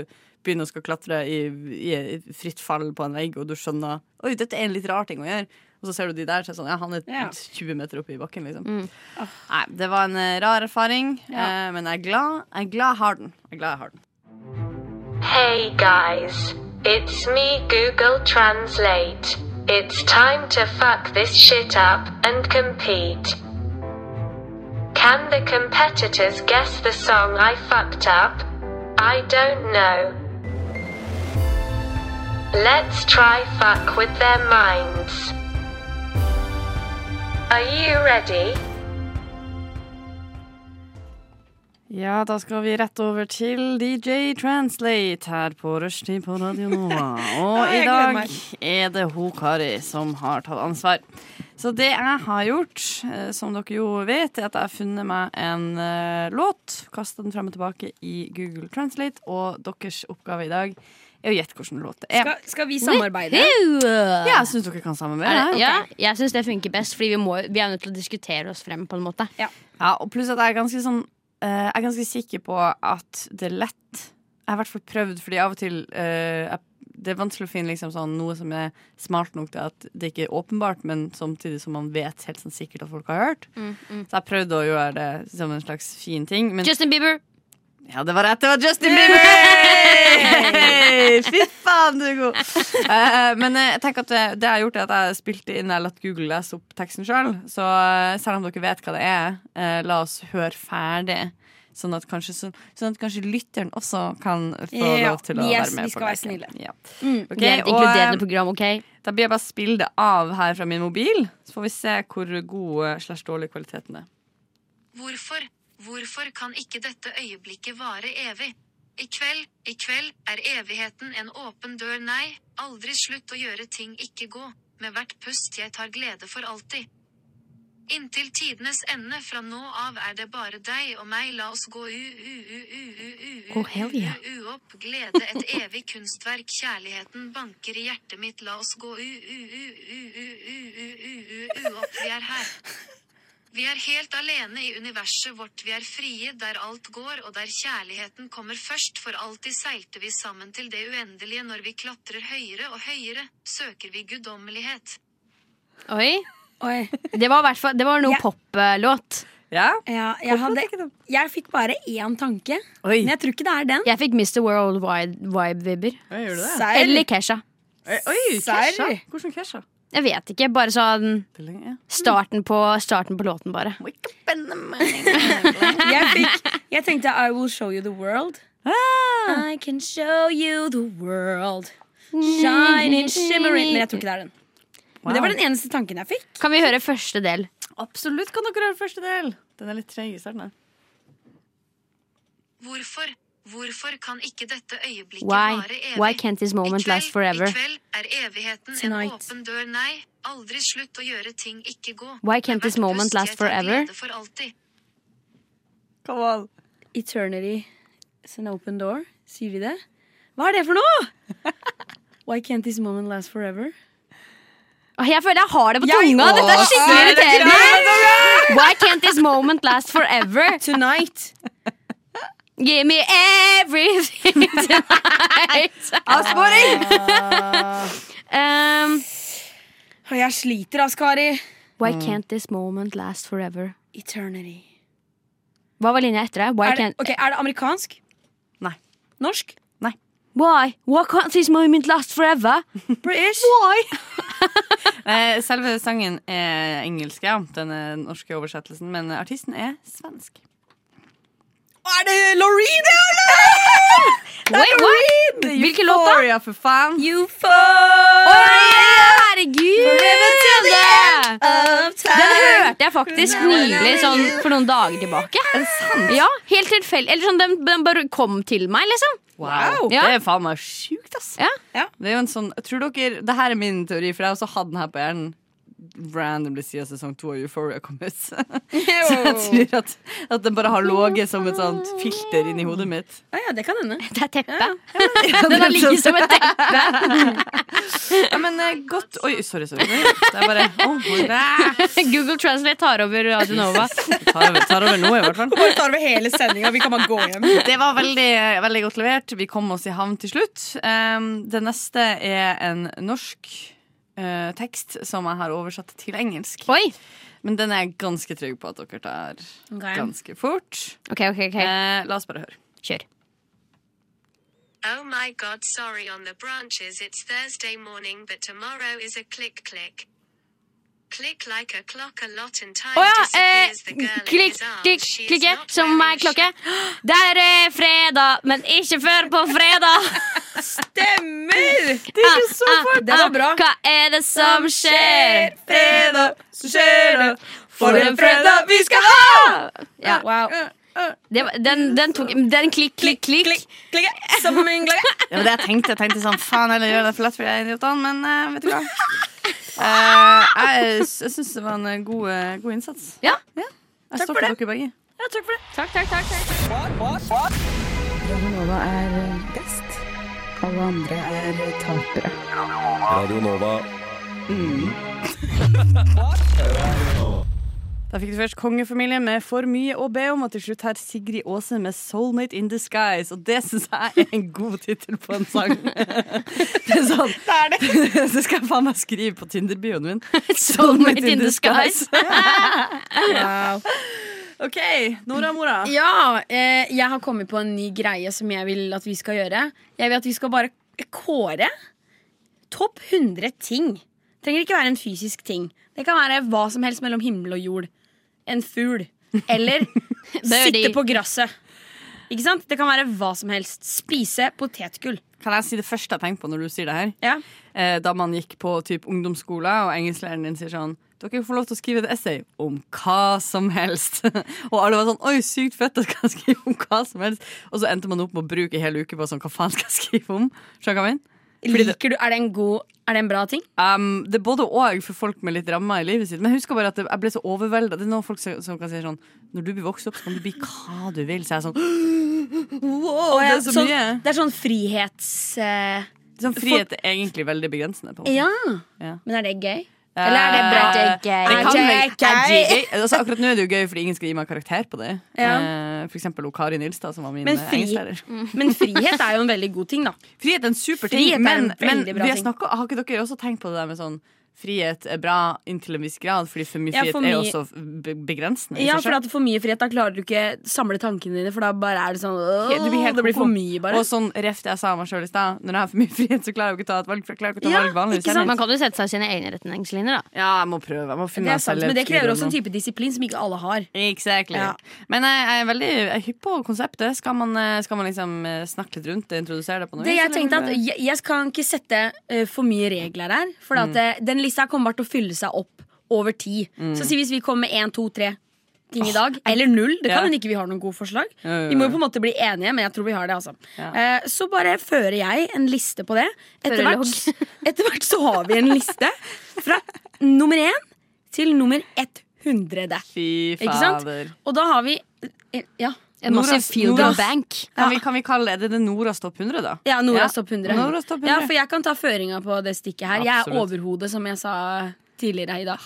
begynner å skal klatre i, i et fritt fall på en vegg, og du skjønner Oi, dette er en litt rar ting å gjøre. Og så ser du de der, så er det sånn Ja, han er Ja. Mm. 20 meter oppe i bakken, liksom. Nei, det var en eh, rar erfaring, Ja. eh, men jeg er glad. Jeg er glad jeg har den. Jeg er glad jeg har den. Hey guys, it's me Google Translate. It's time to fuck this shit up and compete. Can the competitors guess the song I fucked up? I don't know. Let's try fuck with their minds. Are you ready? Ja, da skal vi rett over til DJ Translate her på Rushtid på Radio Nova. Og i dag er det hun Kari som har tatt ansvar. Så det jeg har gjort, eh, som dere jo vet, er at jeg har funnet meg en eh, låt, kasta den fram og tilbake i Google Translate, og deres oppgave i dag er å gjette hvilken låt det er. Skal, skal vi samarbeide? Ja, jeg syns dere kan Er samarbeide. det, ja, jeg syns det funker best, Fordi vi, må, vi er nødt til å diskutere oss frem. på en måte Ja, og pluss at jeg er ganske sånn eh, Jeg er ganske sikker på at det er lett Jeg har i hvert fall prøvd, fordi av og til eh, jeg, Det er vanskelig å finne liksom sånn, noe som er smart nok til at det ikke er åpenbart, men samtidig som man vet helt sånn sikkert at folk har hørt. Så jeg prøvde å gjøre det som en slags fin ting. Men Justin Bieber. ja, det var rett. Det var Justin Bieber! Fy faen, du er god. Eh, men eh, jeg tenker at det, det jeg har gjort, er at jeg spilte inn Jeg har latt Google lese opp teksten sjøl. Så eh, selv om dere vet hva det er, eh, la oss høre ferdig. Sånn at kanskje, sånn, sånn at kanskje lytteren også kan få Ja, lov til å være yes, vi med. skal på være leken. snille. Mm. Ja. Ok, Det er et og, eh, inkluderende program, ok? da blir jeg bare spille det av her fra min mobil, så får vi se hvor god eh, slash dårlig kvaliteten er. Hvorfor? Hvorfor kan ikke dette øyeblikket vare evig? I kveld, i kveld, er evigheten en åpen dør, nei, aldri slutt å gjøre ting ikke gå, med hvert pust jeg tar glede for alltid. Inntil tidenes ende fra nå av er det bare deg og meg, la oss gå u u u u u u Å, hell yeah. u u opp, glede et evig kunstverk, kjærligheten banker i hjertet mitt, la oss gå u u u u u u u u u u opp, vi er her. Vi er helt alene i universet vårt, vi er frie der alt går, og der kjærligheten kommer først, for alltid seilte vi sammen til det uendelige når vi klatrer høyere og høyere, søker vi guddommelighet. Oi, Oi. Det var, i hvert fall- det var noe Ja. pop-låt. Ja? Ja, jeg, hadde, jeg fikk bare én tanke, Oi, men jeg tror ikke det er den. Jeg fikk Mr. World Vibe-vibber. Oi, gjorde du det? Serr. Eller Kesha. Oi, Oi, Serr. Kesha. Hvordan Kesha? Jeg vet ikke. Bare sånn Det er lenge, ja. starten på, starten på låten, bare. jeg, fikk, jeg tenkte I will show you the world. I can show you the world. Shining, shimmering. Men jeg tror ikke det er den. Men det var den eneste tanken jeg fikk. Kan vi høre første del? Absolutt kan dere høre første del. Den er litt treg i starten. her. Hvorfor? Hvorfor kan ikke dette øyeblikket Why? vare evig? Why can't this moment I kveld, last forever? I kveld er evigheten Tonight. en åpen dør, nei, aldri slutt å gjøre ting ikke gå. Why can't this Hvert moment pust last jeg tar forever? glede For alltid. Come on. Eternity is an open door. Sier de det? Hva er det for noe?! Why can't this moment last forever? Åh, Jeg føler jeg har det på tunga! Dette er skikkelig irriterende! Why can't this moment last forever? Tonight. Give me everything tonight! Avsporing! Um, Og jeg sliter, ass, Kari. why can't this moment last forever? Eternity. Hva var linja etter det? Why Er det, can't ok, er det amerikansk? Nei. Norsk? Why? Why can't this moment last forever? British? Eh, Selve sangen er engelsk, ja. Den er den norske oversettelsen. Men artisten er svensk. Er det Loreen, eller? Wait, what? Hvilken låt da? Gloria, for faen! Å, herregud! Den hørte jeg faktisk nylig sånn for noen dager tilbake. Ja, helt tilfeldig. Eller sånn, den, den bare kom til meg, liksom. Wow. Det er faen meg sjukt, ass. Ja. Ja. Det er jo en sånn, jeg tror dere, det her er min teori, for jeg også hadde den her på hjernen randomly siden sesong 2 av Euphoria kom ut. Så jeg tror at, at den bare har låget som et sånt filter inni hodet mitt. Ja, ja, det kan hende. Det er teppet. Den har ligget som et teppe. Ja, men eh, godt Oi, sorry, sorry. Det er bare oh, hvor- ah. Google Translate tar over Radio Nova. tar, over, tar over nå, i hvert fall. Bare tar over hele sendinga, vi kan bare gå hjem. Det var veldig, veldig godt levert. Vi kom oss i havn til slutt. Um, det neste er en norsk eh, tekst som jeg har oversatt til engelsk. Oi! Men den er jeg ganske trygg på at dere tar ganske fort. Ok, ok, ok. Eh, la oss bare høre. Kjør. Oh my god, sorry on the branches, it's Thursday morning, but tomorrow is a click click. Click like a clock a lot in time Å ja! Eh, disappears the girl in klikk, his arms. klikk, She is klikke not som wearing meg a klokke. Der er eh, fredag, men ikke før på fredag. Stemmer! Det er ikke så Ah, Det var ah, bra. Hva er det som skjer? fredag, så skjer det. For en fredag vi skal ha! Ja, Wow. det var, den, den tok Den klikk, klikk, klikk. Mm. Klikk, klikk, som en glagg. Det var det jeg tenkte. Jeg tenkte sånn, faen heller gjør det for lett for de idiotene, men eh, vet du hva. Eh, jeg jeg syns det var en eh, god, eh, god innsats. Ja. Jeg står på dere begge. Takk, takk, takk. takk. Radio Nova. Da fikk du først kongefamilien med For mye å be om, og til slutt her Sigrid Aase med Soulmate in disguise. Og det syns jeg er en god tittel på en sang. Det er sånn Det er det. Det skal jeg faen meg skrive på Tinder-bioen min. Soulmate in disguise. Wow. OK, Nora Mora. Ja, eh, jeg har kommet på en ny greie som jeg vil at vi skal gjøre. Jeg vil at vi skal bare kåre topp 100 ting. Trenger ikke være en fysisk ting. Det kan være hva som helst mellom himmel og jord. En fugl. Eller Birdie. sitte på gresset. Ikke sant? Det kan være hva som helst. Spise potetgull. Kan jeg si det første jeg tenker på når du sier det her? Ja. eh, da man gikk på typ, ungdomsskole, og engelsklæreren din sier sånn dere får lov til å skrive et essay om hva som helst. og alle var sånn Oi, sykt fett, jeg skal skrive om hva som helst. Og så endte man opp med å bruke en hel uke på sånn, hva faen skal jeg skrive om? Skjønner du hva jeg mener? Fordi det- Liker du, er det en god Er det en bra ting? Um, det er både og for folk med litt rammer i livet sitt. Men jeg husker bare at det- jeg ble så overvelda. Det er noen folk som, som kan si sånn Når du blir vokst opp, så kan du bli hva du vil. Så jeg er sånn Wow, det er så sånn, mye. det er sånn frihets... eh, Sånn frihet er egentlig veldig begrensende. På en måte. Eh, ja. Ja. Men er det gøy? Eller er det bra? Det Er kan det vel- gøy? er det gøy? Altså, akkurat nå er det jo gøy fordi ingen skal gi meg karakter på det. Ja. Eh, For eksempel hun Kari Nilstad, som var min Men eh, fri- engelsklærer. Men frihet er jo en veldig god ting, da. Frihet er en super Frihet er ting, en men, men veldig bra vi har, ting. snakket, har ikke dere også tenkt på det der med sånn Frihet er bra inntil en viss grad, fordi for mye Ja, frihet for er mye- også be- begrensende. i Ja, seg for selv. at For mye frihet, da klarer du ikke samle tankene dine, for da bare er det sånn Ja, du blir helt Det blir koko. for mye, bare. Og sånn ref det jeg sa om meg sjøl i stad, når jeg har for mye frihet, så klarer jeg jo ikke å ta et valg. For jeg klarer jo ikke å ta Ja, valg vanligvis. ikke sant? heller. Man kan jo sette seg sine egne retningslinjer, da. Ja, jeg må prøve. Jeg må finne Det meg er sant, selv men det et krever liv også nå. en type disiplin som ikke alle har. Exactly. Ja. Men jeg, jeg er veldig jeg er hypp på konseptet. Skal man, eh, skal man liksom eh, snakke litt rundt det? Introdusere det på noe Det vis, Jeg eller tenkte at vil du- jeg, jeg kan ikke sette eh, for mye regler her, for Mm. at, eh, den lista kommer bare til å fylle seg opp over tid. Så si hvis vi kommer med én, to, tre ting i dag, eller null. Det Ja. kan hende ikke vi har noen gode forslag. Ja, ja, ja. Vi må jo på en måte bli enige, men jeg tror vi har det. altså Ja. Eh, Så bare fører jeg en liste på det. Etter Fører hvert, etter hvert så har vi en liste fra nummer én til nummer 100. Fy Ikke sant? fader. Og da har vi eh, Ja. En massiv Noras- field Noras- of bank. Kan vi, kan vi kalle det, er det det Noras topp 100, da? Ja, Noras Ja. topp 100. Noras topp 100. Ja, for jeg kan ta føringa på det stikket her. Jeg er Absolutt. overhodet, som jeg sa tidligere i dag.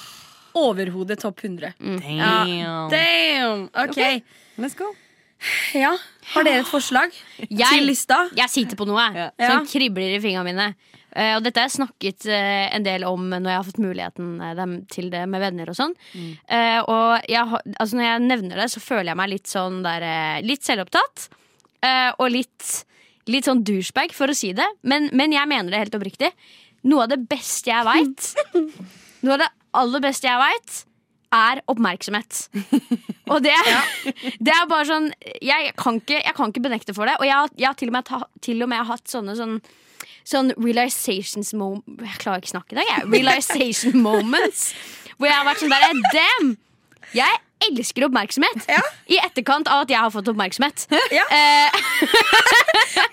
Overhodet topp 100. Mm. Damn. Damn! Ok. Ok. Let's go. Ja. Har dere et forslag til lista? Jeg sitter på noe jeg, Ja. som kribler i fingrene mine. Eh, og dette har jeg snakket eh, en del om når jeg har fått muligheten eh, dem- til det med venner. og sånn Mm. Eh, Og jeg, har- altså når jeg nevner det, så føler jeg meg litt sånn der eh, Litt selvopptatt. eh, og litt, litt sånn douchebag, for å si det. Men, men jeg mener det helt oppriktig. Noe av det beste jeg veit, noe av det aller beste jeg veit, er oppmerksomhet. Og det, det er bare sånn jeg kan, ikke, jeg kan ikke benekte for det. Og jeg, har- jeg har til og med, ta, til og med hatt sånne sånn Sånn realizations mo- Jeg klarer ikke å snakke i dag, jeg. Realization moments. Hvor jeg har vært sånn der eh, Damn! Jeg elsker oppmerksomhet. I etterkant av at jeg har fått oppmerksomhet. Ja. Eh,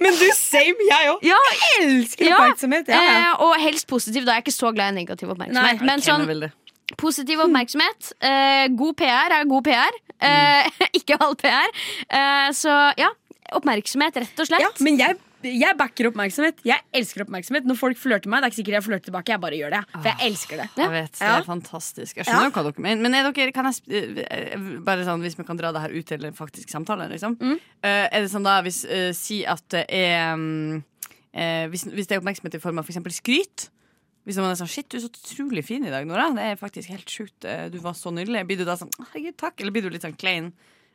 Men du, same, jeg òg. ja, Elsker ja. oppmerksomhet. Ja, ja. Eh, og helst positiv, da. Jeg er ikke så glad i negativ oppmerksomhet. Nei. men sånn, Positiv oppmerksomhet. Eh, god PR er god PR. Eh, ikke all PR. Eh, så ja, oppmerksomhet, rett og slett. Ja, men jeg, jeg backer oppmerksomhet. Jeg elsker oppmerksomhet. Når folk flørter meg, det er ikke sikkert jeg flørter tilbake. Jeg bare gjør det. For jeg elsker det. Jeg vet, det Ja. er fantastisk. Jeg skjønner hva dere mener. Men er dere, kan jeg, sp- eh, bare sånn, hvis vi kan dra det her ut til en faktisk samtale, liksom. Mm. Eh, er det sånn da, hvis eh, si at det er mm, eh, hvis, hvis det er oppmerksomhet i form av for eksempel skryt Hvis man er sånn, shit, du er så utrolig fin i dag, Nora. Det er faktisk helt sjukt. eh, Du var så nydelig. Blir du da sånn, herregud, takk? Eller blir du litt sånn klein?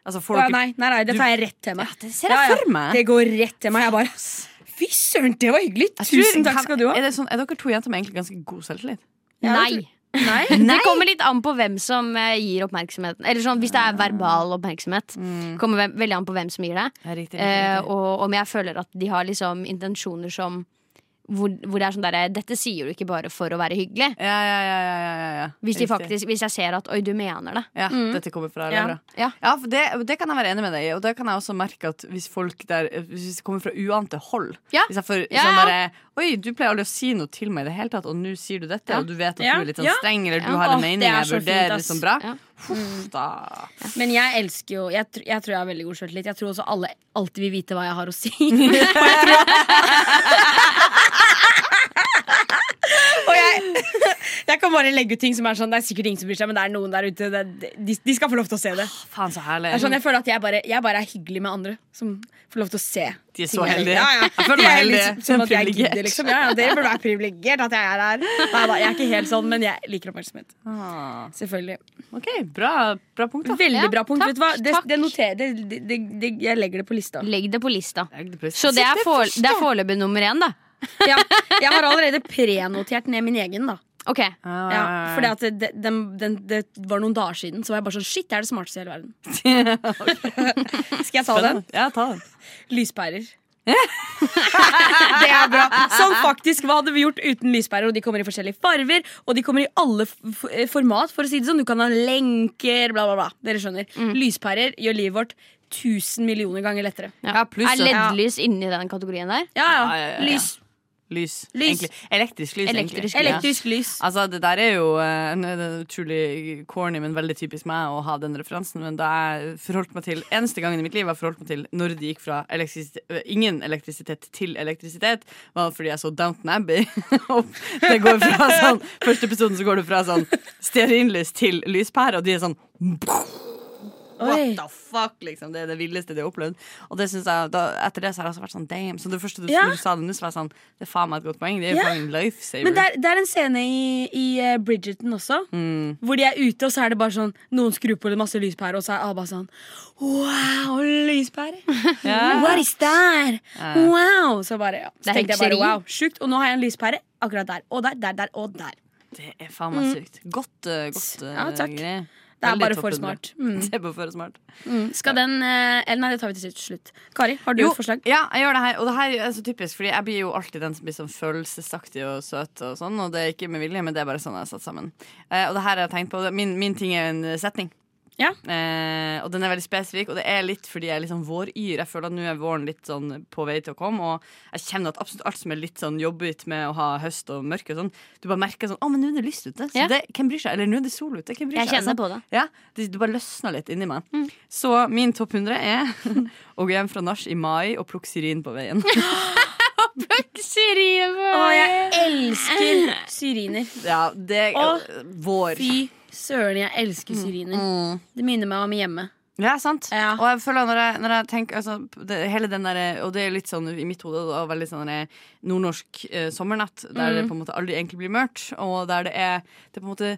Altså, får Å, ja, dere nei, nei, nei, det Du- tar jeg rett til meg. Ja, det ser jeg for meg. Det går rett til meg. Jeg bare Fy søren, det var hyggelig! Jeg tror- Tusen takk skal du ha. Er, det sånn, er dere to jenter med egentlig ganske god selvtillit? Nei. Nei. Det kommer litt an på hvem som eh, gir oppmerksomheten. Eller sånn, Hvis det er verbal oppmerksomhet. Kommer ve- veldig an på hvem som gir det. Ja, riktig, riktig, Eh, riktig. og om jeg føler at de har liksom intensjoner som hvor, hvor det er sånn derre Dette sier du ikke bare for å være hyggelig. Ja, ja, ja, ja, ja, ja. Hvis, de Riktig. faktisk, hvis jeg ser at 'oi, du mener det'. Ja, dette kommer fra Ja. Laura. Ja. for det, det kan jeg være enig med deg i. Og da kan jeg også merke at hvis folk der Hvis det kommer fra uante hold Ja. Hvis jeg får Ja, sånn ja. derre Oi, du pleier aldri å si noe til meg i det hele tatt, og nå sier du dette, Ja. og du vet at Ja. du er litt sånn Ja. streng, eller du Ja. har en Åh, det mening, er jeg så fint, vurderer ass. liksom bra. Ja. Huff da. Men jeg elsker jo jeg, tr jeg tror jeg har veldig god sjøltillit. Jeg tror også alle alltid vil vite hva jeg har å si. Og jeg, tror- Og jeg, jeg kan bare legge ut ting som er sånn Det er sikkert ingen som bryr seg, men det er noen der ute. Det, de, de skal få lov til å se det. Faen, så herlig. Det er sånn, jeg føler at jeg bare, jeg bare er hyggelig med andre som får lov til å se. De er ting så jeg- heldige. Ja, ja. Jeg føler De meg er heldig. liksom Sånn at jeg Privilegert. gidder, liksom. Ja, ja, dere burde være privilegert at jeg er her. Nei, da, jeg er ikke helt sånn, men jeg liker oppmerksomhet. Ah, Selvfølgelig. OK, bra, bra punkt, da. Veldig Ja, bra punkt. takk, Vet du hva? Det, takk. det noterer det, det, det, det, Jeg legger det på lista. Legg det på lista. Jeg er pris- Så det er Sitt for- først, det da. er foreløpig nummer én, da. Ja, jeg har allerede prenotert ned min egen, da. Ok, Ah, Ja, fordi at det, det, den- den, det var noen dager siden, så var jeg bare sånn Shit, det er det smarteste i hele verden. Skal jeg ta den? Spennende. Ja, ta den. Lyspærer. det er bra. Som faktisk, Hva hadde vi gjort uten lyspærer? Og De kommer i forskjellige farger, og de kommer i alle f f- format. for å si det sånn Du kan ha lenker, bla, bla, bla. Dere skjønner. Lyspærer gjør livet vårt 1000 millioner ganger lettere. Ja, pluss Er at- LED-lys inni den kategorien der? Ja, ja. Ja, ja, ja, ja. Lys. Lys. Lys. Egentlig. Elektrisk lys, Elektrisk egentlig. Ja. Elektrisk lys. Altså, det der er jo eh, nå er det utrolig corny, men veldig typisk meg å ha den referansen. Men da jeg forholdt meg til eneste gangen i mitt liv jeg forholdt meg til når det gikk fra elektrisit- ø, ingen elektrisitet til elektrisitet, var fordi jeg så Downton Abbey. Og det går fra sånn Første episoden så går det fra sånn stearinlys til lyspære, og de er sånn Oi. What the fuck, liksom. Det er det villeste de har opplevd. Og det synes jeg, da, etter det så har jeg også vært sånn damn. Så det første du, Ja. når du sa det nå, så var jeg sånn Det er faen meg et godt poeng. Det er jo Ja. fucking lifesaver. Men det er, det er en scene i, i eh, Bridgerton også, hvor de er ute, og så er det bare sånn Noen skrur på det masse lyspærer, og så er Abba sånn Wow, lyspærer! Ja. What is that? Wow! Så bare, ja. Det Så er tenkte jeg bare hekseri. wow, sjukt. Og nå har jeg en lyspære akkurat der og der, der, der og der. Det er faen meg sykt. Godt, eh, godt eh, Mm. Ja, takk. greie. Det er Veldig bare topp for hundre. smart. Mm. Det er bare for smart. Skal den eh, Eller nei, det tar vi til slutt- slutt. Kari, har du Jo, et forslag? Ja, jeg gjør det her. Og det her er så typisk, fordi jeg blir jo alltid den som blir sånn følelsesaktig og søt og sånn, og det er ikke med vilje, men det er bare sånn jeg er satt sammen. Eh, og det her har jeg tenkt på. Det- Min, min ting er en setning. Ja. Eh, og den er veldig spesifikk, og det er litt fordi jeg er litt sånn våryr. Jeg føler at nå er våren litt sånn på vei til å komme, og jeg kjenner at absolutt alt som er litt sånn jobbete med å ha høst og mørke og sånn, du bare merker sånn Å, men nå er det lyst ute. Så Ja. det, hvem bryr seg? Eller nå er det sol ute. Hvem bryr Jeg seg? Altså, kjenner på det. Mm. Ja, det, det bare løsner litt inni meg. Så min topp 100 er å gå hjem fra nach i mai og plukke syrin på veien. Å, jeg elsker syriner. Ja, det Å, Vår. Fy søren, jeg elsker syriner. Mm. Det minner meg om hjemme. Ja, sant? Ja. Og jeg føler når jeg, når jeg tenker altså, det, Hele den der Og det er litt sånn i mitt hode da, veldig sånn der nordnorsk eh, sommernatt, der Mm. det på en måte aldri egentlig blir mørkt, og der det er Det er på en måte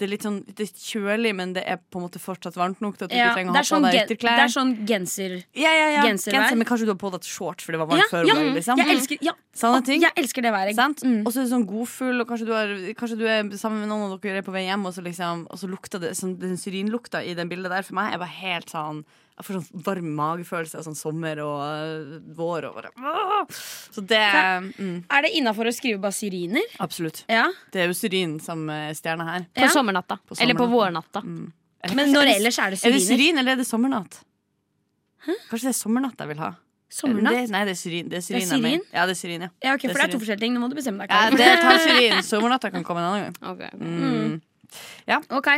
det er litt sånn det er kjølig, men det er på en måte fortsatt varmt nok til at du Ja, ikke trenger å det, ha er på sånn deg gen, det ytterklær. er sånn genser... ja, ja, ja. genservær. Genser, men kanskje du har på deg shorts fordi det var varmt Ja, før. ja. Mm. om dagen, liksom. Jeg elsker, ja. Sånne Å, ting. Jeg elsker det været. Sant? Og så er du sånn godfull, og kanskje du, er, kanskje du er sammen med noen og dere er på vei hjem, og så, liksom, og så lukter det sånn, Den syrinlukta i den bildet der for meg er bare helt sånn Jeg får sånn varm magefølelse av sånn sommer og øh, vår og bare «Åh!» Så det mm, Er det innafor å skrive bare syriner? Absolutt. Ja. Det er jo syrin som er stjerna her. På sommernatta. På Eller på sommernatta. vårnatta. Men når ellers er det Er det syriner? syrin, eller er det sommernatt? Kanskje det er sommernatt jeg vil ha. Sommernatt? Det, nei, det er syrin. Det er syrin. Det er jeg mener. syrin? Ja, det er syrin, ja. Ja, Det ok, er For det er to syrin. forskjellige ting. Nå må du bestemme deg. ja Karen. det tar syrin. Sommernatta kan komme en annen gang. Ok, ok. Mm. Ok,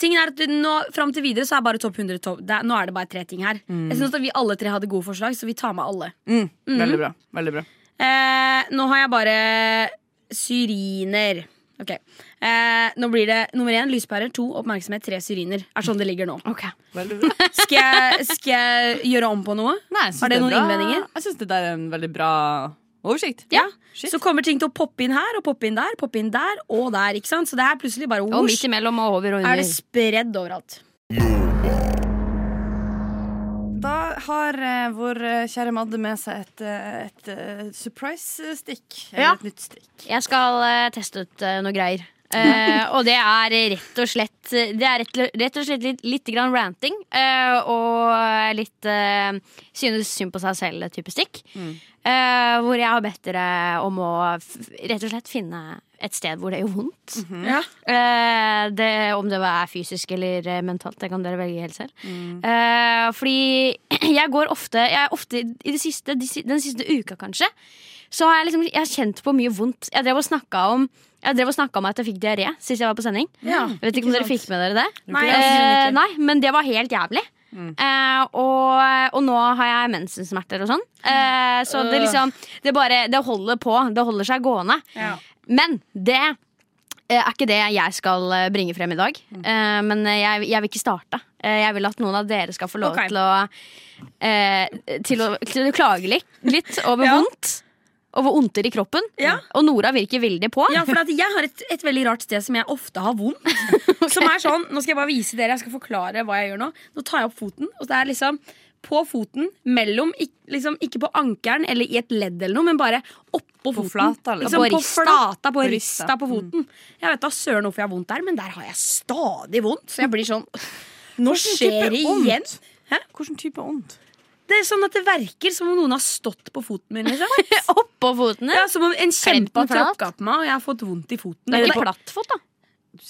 Tingen er at nå, Fram til videre så er bare topp 100 topp. Det er, nå er det bare tre ting her. Jeg synes at Vi alle tre hadde gode forslag, så vi tar med alle. Mm. Veldig bra. Veldig bra. Eh, nå har jeg bare syriner. Ok eh, Nå blir det nummer én lyspærer, to oppmerksomhet, tre syriner. Er sånn det ligger nå. Ok. Veldig bra. Skal jeg, skal jeg gjøre om på noe? Nei, jeg synes Har det er noen bra. innvendinger? Jeg syns det der er en veldig bra oversikt. Ja. Shit. Så kommer ting til å poppe inn her og poppe inn der poppe inn der og der. ikke sant? Så det her plutselig bare Og whoosh, midt imellom og over er og under. det spredd overalt. Da har eh, vår eh, kjære Madde med seg et, eh, et, eh, surprise-stikk. Eller Ja. et nytt stikk. Jeg skal eh, teste ut eh, noe greier. Eh, og det er rett og slett Det er rett, rett og slett litt, litt grann ranting. eh, og litt eh, synes synd på seg selv-type stikk. Eh, hvor jeg har bedt dere om å f rett og slett finne et sted hvor det gjør vondt. Ja. Eh, det, om det er fysisk eller eh, mentalt, det kan dere velge helt selv. Mm. Eh, fordi jeg går ofte, jeg er ofte i det siste, de, si- den siste uka kanskje, så har jeg liksom jeg har kjent på mye vondt. Jeg drev og snakka om jeg drev og snakket om at jeg fikk diaré sist jeg var på sending. Ja, jeg vet ikke om dere fikk med dere det? Nei, jeg Eh, synes ikke. Mm. nei men det var helt jævlig. Eh, og, og nå har jeg mensensmerter og sånn. Eh, så Øh. det liksom det, bare, det holder på. Det holder seg gående. Ja. Men det eh, er ikke det jeg skal eh, bringe frem i dag. Eh, men jeg, jeg vil ikke starte. Eh, Jeg vil at noen av dere skal få lov Ok. til, å, eh, til å Til å klage litt, litt over Ja. vondt. Over ondter i kroppen. Ja. Og Nora virker veldig på. Ja, for at jeg har et, et veldig rart sted som jeg ofte har vondt. Som er sånn, Nå skal jeg bare vise dere, jeg skal forklare hva jeg gjør nå. Nå tar jeg opp foten, og det er liksom på foten, mellom, ik- liksom, ikke på ankelen eller i et ledd eller noe, men bare oppå foten. flata, liksom. liksom. På På rista. flata, på På rista. rista på foten. Jeg vet da søren hvorfor jeg har vondt der, men der har jeg stadig vondt. Så jeg blir sånn Nå skjer det igjen. Hæ? Hvilken type ondt? Det er sånn at det verker som om noen har stått på foten min. Liksom. Oppå fotene. Ja, som om en Klemt kjempe har den flat? tråkka på meg, og jeg har fått vondt i foten. Det er Eller ikke på- plattfot, da.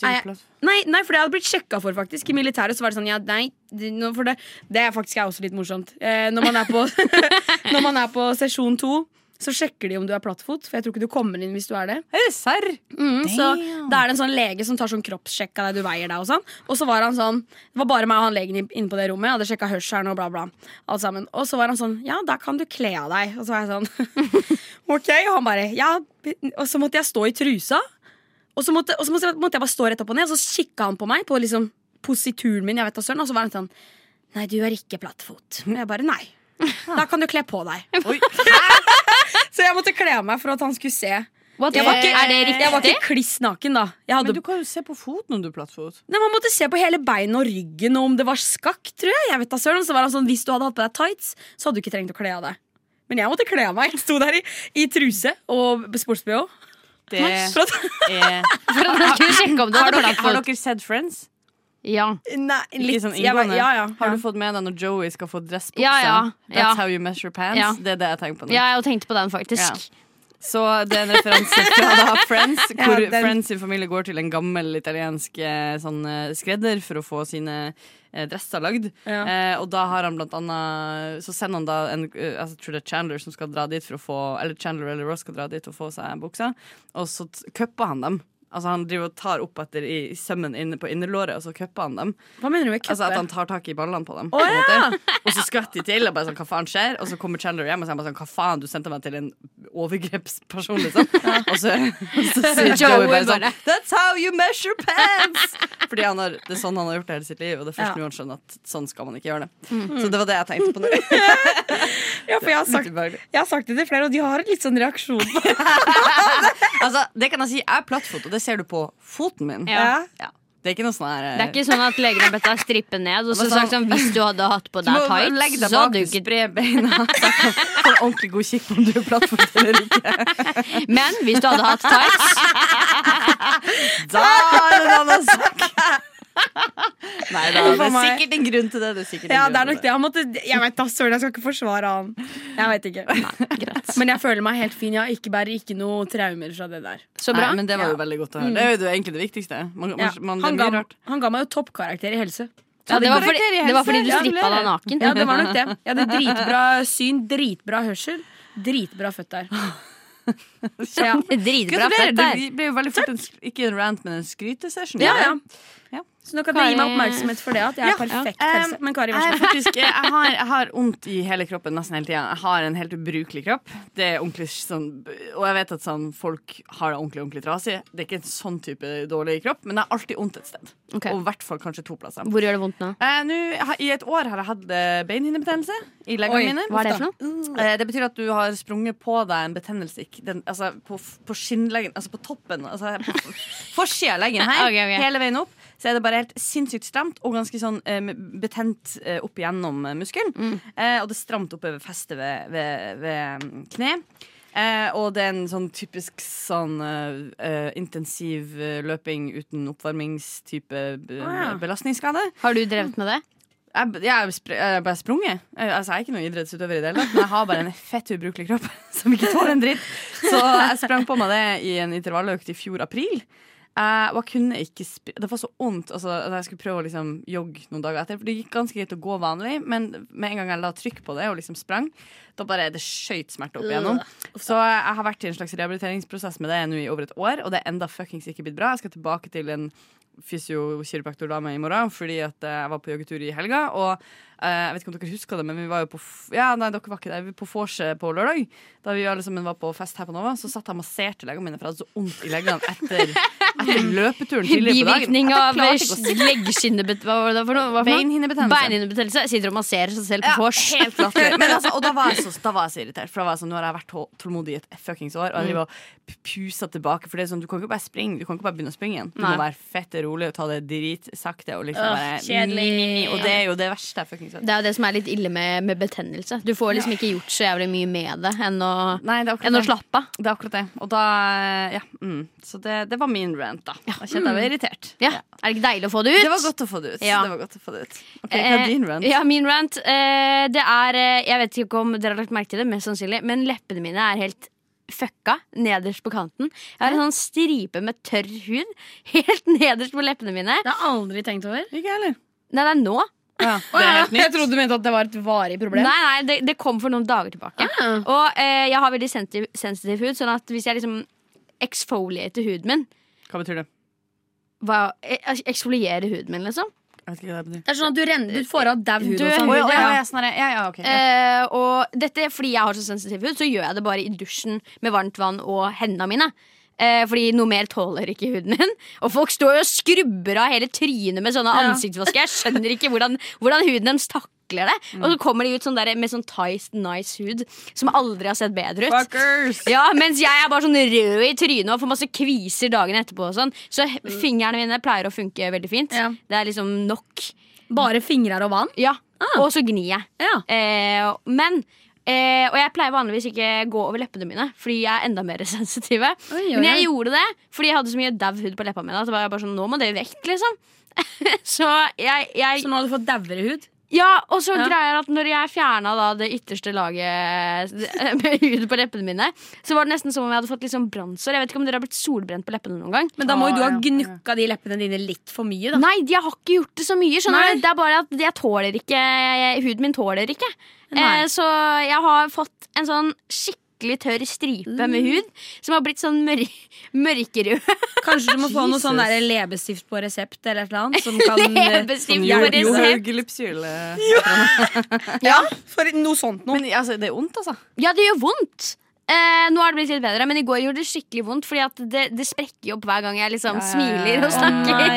Nei, jeg- Nei, nei, for det hadde blitt sjekka for faktisk I militæret så var det sånn ja, nei, det- nå- for det, det er faktisk er også litt morsomt. Eh, når, man er på, når man er på sesjon to, så sjekker de om du er plattfot. For jeg tror ikke du kommer inn hvis du er det. Er det serr? Mm, så Da er det en sånn lege som tar sånn kroppssjekk av deg, du veier deg og sånn. Og så var han sånn Det var bare meg og han legen inn- inne på det rommet. Jeg hadde sjekka hørselen og bla, bla. Alt sammen. Og så var han sånn Ja, da kan du kle av deg. Og så var jeg sånn Ok. Og han bare Ja. Og så måtte jeg stå i trusa. Og så måtte, og så måtte, måtte jeg bare stå rett opp og ned, og så kikka han på meg på liksom posituren min, jeg vet da søren, og så var han sånn Nei, du er ikke plattfot. Og jeg bare nei. Da kan du kle på deg. Oi. Så jeg måtte kle av meg for at han skulle se. What Jeg the var fuck? ikke, Eh, er det riktig? Jeg var ikke kliss naken, da. Jeg hadde, Men du kan jo se på foten om du er plattfot. nei, man måtte se på hele beinet og ryggen og om det var skakk, tror jeg. jeg vet da søren, Og så var han sånn, Hvis du hadde hatt på deg tights, så hadde du ikke trengt å kle av deg. Men jeg måtte kle av meg. Jeg sto der i, i truse og sports-BH. Det For at- er For at jeg skulle sjekke om det Har hadde dere, har plattfot. dere sett Friends? Ja. Nei, Ikke litt. sånn jeg var, inngående. ja, ja. Har du fått med deg når Joey skal få dressbuksa? Ja, ja, ja. That's how you measure pants? Ja. Det er det jeg tenker på nå. ja, jeg tenkte på den, faktisk. Så det er en referanse fra da Friends, hvor Ja, den- Friends sin familie går til en gammel italiensk eh, sånn, eh, skredder for å få sine eh, dresser lagd. Ja. Eh, og da har han blant annet Så sender han da en eh, altså, Jeg tror det er Chandler som skal dra dit for å få Eller Chandler eller Ross skal dra dit og få seg buksa, og så t- cupper han dem. Altså Han driver og tar opp etter i, i sømmen inne på innerlåret, og så cupper han dem. Hva mener du med Altså At cuppe? han tar tak i ballene på dem. på en måte. Og så skvetter de til, og bare sånn, hva faen skjer? Og så kommer Chandler hjem og sier bare sånn, hva faen, du sendte meg til en overgrepsperson, liksom. Og så, og så sier Joey bare sånn, that's how you measure pants! Fordi han har, det er sånn han har gjort det hele sitt liv, og det er først Ja. nå han skjønner at sånn skal man ikke gjøre det. Mm. Så det var det jeg tenkte på nå. Ja, for jeg har, sagt, Ubehagelig. jeg har sagt det til flere, og de har en litt sånn reaksjon på det. Altså, det kan jeg si, jeg er plattfot, og det ser du på foten min. Ja. Det er ikke noe sånn her... eh, Det er ikke sånn at legen har bedt deg strippe ned. Og så Men sånn- sagt sånn, Hvis du hadde hatt på Du må deg legge deg tights, så bak, hadde du ikke spre beina. Få en ordentlig god kikk på om du er plattfot eller ikke. Men hvis du hadde hatt tights Da er det en annen sak. Nei da, det For er meg. sikkert en grunn til det. det er sikkert en Ja, grunn det er til nok det. Han måtte, jeg vet da, søren, jeg skal ikke forsvare han. Jeg vet ikke. Greit. Men jeg føler meg helt fin. Jeg har ikke bærer ikke noe traumer fra det der. Så bra. Nei, men det var jo veldig godt å høre. Det er jo det- egentlig det viktigste. Man, man, Ja. man, det Han, blir ga, rart. han ga meg jo toppkarakter i helse. ja, det, var Karakter fordi, i helse, det var fordi du ja, strippa gratulerer. deg naken. Ja, det var nok det. Jeg hadde dritbra syn, dritbra hørsel, dritbra føtter. Ja. Dritbra Gratulerer! fett Det der. blir- blir jo veldig fort en, sk- ikke en rant, men en skrytesession. Ja, ja. Ja. Så nå kan dere gi meg Kari- oppmerksomhet for det, at jeg er perfekt helse. Eh, Men Kari, vær Jeg, er så snill. faktisk, jeg, har, jeg har ondt i hele kroppen nesten hele tida. Jeg har en helt ubrukelig kropp. Det er ordentlig sånn, Og jeg vet at sånn, folk har det ordentlig ordentlig trasig. Det er ikke en sånn type dårlig kropp, men jeg har alltid vondt et sted. Ok. Og i hvert fall kanskje to plasser. Hvor gjør det vondt nå? Eh, nå har- I et år har jeg hatt eh, beinhinnebetennelse i Oi, leggene mine. Hva er det for noe? Eh, Det betyr at du har sprunget på deg en betennelse ikke- den, altså, på, f- på skinnleggen, altså på toppen, altså på f- forsida av leggen her, Ok, ok. hele veien opp. Så er det bare helt sinnssykt stramt og ganske sånn eh, betent eh, opp gjennom eh, muskelen. Mm. Eh, og det er stramt oppover festet ved, ved, ved mm, kne. Eh, og det er en sånn typisk sånn eh, eh, intensiv eh, løping uten oppvarmingstype be- Ah, ja. belastningsskade. Har du drevet med det? Jeg, jeg, er spr- jeg er bare sprunget. Jeg, altså, jeg er ikke noen idrettsutøver i det hele tatt, men jeg har bare en fett ubrukelig kropp som ikke tåler en dritt. Så jeg sprang på meg det i en intervalløkt i fjor april. Eh, og jeg kunne ikke spri Det var så vondt altså, at jeg skulle prøve å liksom, jogge noen dager etter. For det gikk ganske greit å gå vanlig, men med en gang jeg la trykk på det og liksom sprang, da bare det skjøt smerte opp igjennom. Så jeg har vært i en slags rehabiliteringsprosess med det nå i over et år, og det er enda fuckings ikke blitt bra. Jeg skal tilbake til en fysiokiropraktordame i morgen fordi at eh, jeg var på joggetur i helga. Og eh, jeg vet ikke om dere husker det, men vi var jo på f- Ja, nei, dere var ikke der. Vi var på vorset på lørdag, da vi alle sammen var på fest her på Nova, så satt jeg og masserte leggene mine, for jeg hadde så vondt i leggene etter, etter løpeturen tidligere på dagen. Bivirkning At av jeg klarte ikke å leggskinnebetennelse Hva var det for noe? Hva for noe? Beinhinnebetennelse. Beinhinnebetennelse. Sitter og masserer seg selv på vors. Helt latterlig. Men altså, og da var, jeg så, da var jeg så irritert. For da var jeg sånn, Nå har jeg vært tå- tålmodig i et fuckings år, og jeg driver og p- puser tilbake. For det er sånn, du kan ikke bare springe Du kan ikke bare begynne å springe igjen. Du Nei. må være fett rolig og ta det dritsakte. Og liksom Åh, bare, mm, kjedelig. Og det er jo det verste jeg fuckings vet. Det er jo det som er litt ille med, med betennelse. Du får liksom ikke gjort så jævlig mye med det enn å, Nei, det er akkurat enn å det. slappe av. Det er akkurat det. Og da Ja. Mm. Så det, det var min rant, da. Jeg kjente jeg ble irritert. Ja. Er det ikke deilig å få det ut? Det var godt å få det Mm. ut. Ja. Det var godt å få det ut. Ok, hva er din rant? Eh, ja, min rant. Eh, det er eh, Jeg vet ikke om dere har lagt merke til det, mest sannsynlig, men leppene mine er helt fucka nederst på kanten. Jeg har en sånn stripe med tørr hud helt nederst på leppene mine. Det har jeg aldri tenkt over. Ikke jeg heller. Nei, det er nå. Ja, det er helt nytt. Jeg trodde du mente at det var et varig problem. Nei, nei, det, det kom for noen dager tilbake. Ah. Og eh, jeg har veldig sensitiv, sensitiv hud, sånn at hvis jeg liksom exfoliater huden min Hva betyr det? hva, eh, Eksfolierer huden min, liksom. Jeg vet ikke hva det betyr. Det er sånn at du, renner, du får av dau hud og Død sånn. hud, Å, ja, ja. ja, ja, sånn er det. ja, ja, ok. Ja. Eh, og dette er fordi jeg har så sensitiv hud, så gjør jeg det bare i dusjen med varmt vann og hendene mine. Eh, fordi noe mer tåler ikke huden min. Og folk står jo og skrubber av hele trynet med sånne ansiktsvasker. Jeg skjønner ikke hvordan, hvordan huden deres takler det. Og så kommer de ut sånn der, med sånn tight, nice hud som aldri har sett bedre ut. Fuckers! Ja, Mens jeg er bare sånn rød i trynet og får masse kviser dagen etterpå. Og sånn. Så he- fingrene mine pleier å funke veldig fint. Ja. Det er liksom nok. Bare fingre og vann? Ja, Og så gnir jeg. Ah. Ja. Eh, men eh, Og jeg pleier vanligvis ikke gå over leppene mine, fordi jeg er enda mer sensitive. Oi, oi, Men jeg oi. gjorde det fordi jeg hadde så mye dau hud på leppene mine. At det var bare sånn, nå må det vekk, liksom. så jeg, jeg Så nå har du fått dauere hud? Ja, og så Ja. greier jeg at når jeg fjerna da det ytterste laget med hud på leppene mine, så var det nesten som om jeg hadde fått litt sånn brannsår. Jeg vet ikke om dere har blitt solbrent på leppene noen gang. Men da må Å, jo du ha ja. gnukka de leppene dine litt for mye, da. Nei, jeg har ikke gjort det så mye. skjønner Nei. du? Det er bare at jeg tåler ikke Huden min tåler ikke. Nei. Eh, så jeg har fått en sånn skikkelig tørr stripe med hud som har blitt sånn mør mørkerød. Kanskje du må få noe sånn der leppestift på resept eller et eller annet? Som kan, Leppestift Jo, på jo, resept. Haugelypsyl, eh. ja, for noe sånt noe. Men altså, det er ondt, altså. Ja, det gjør vondt. Eh, nå har det blitt litt bedre, men i går gjorde det skikkelig vondt. Fordi at det, det sprekker jo opp hver gang jeg liksom smiler og snakker.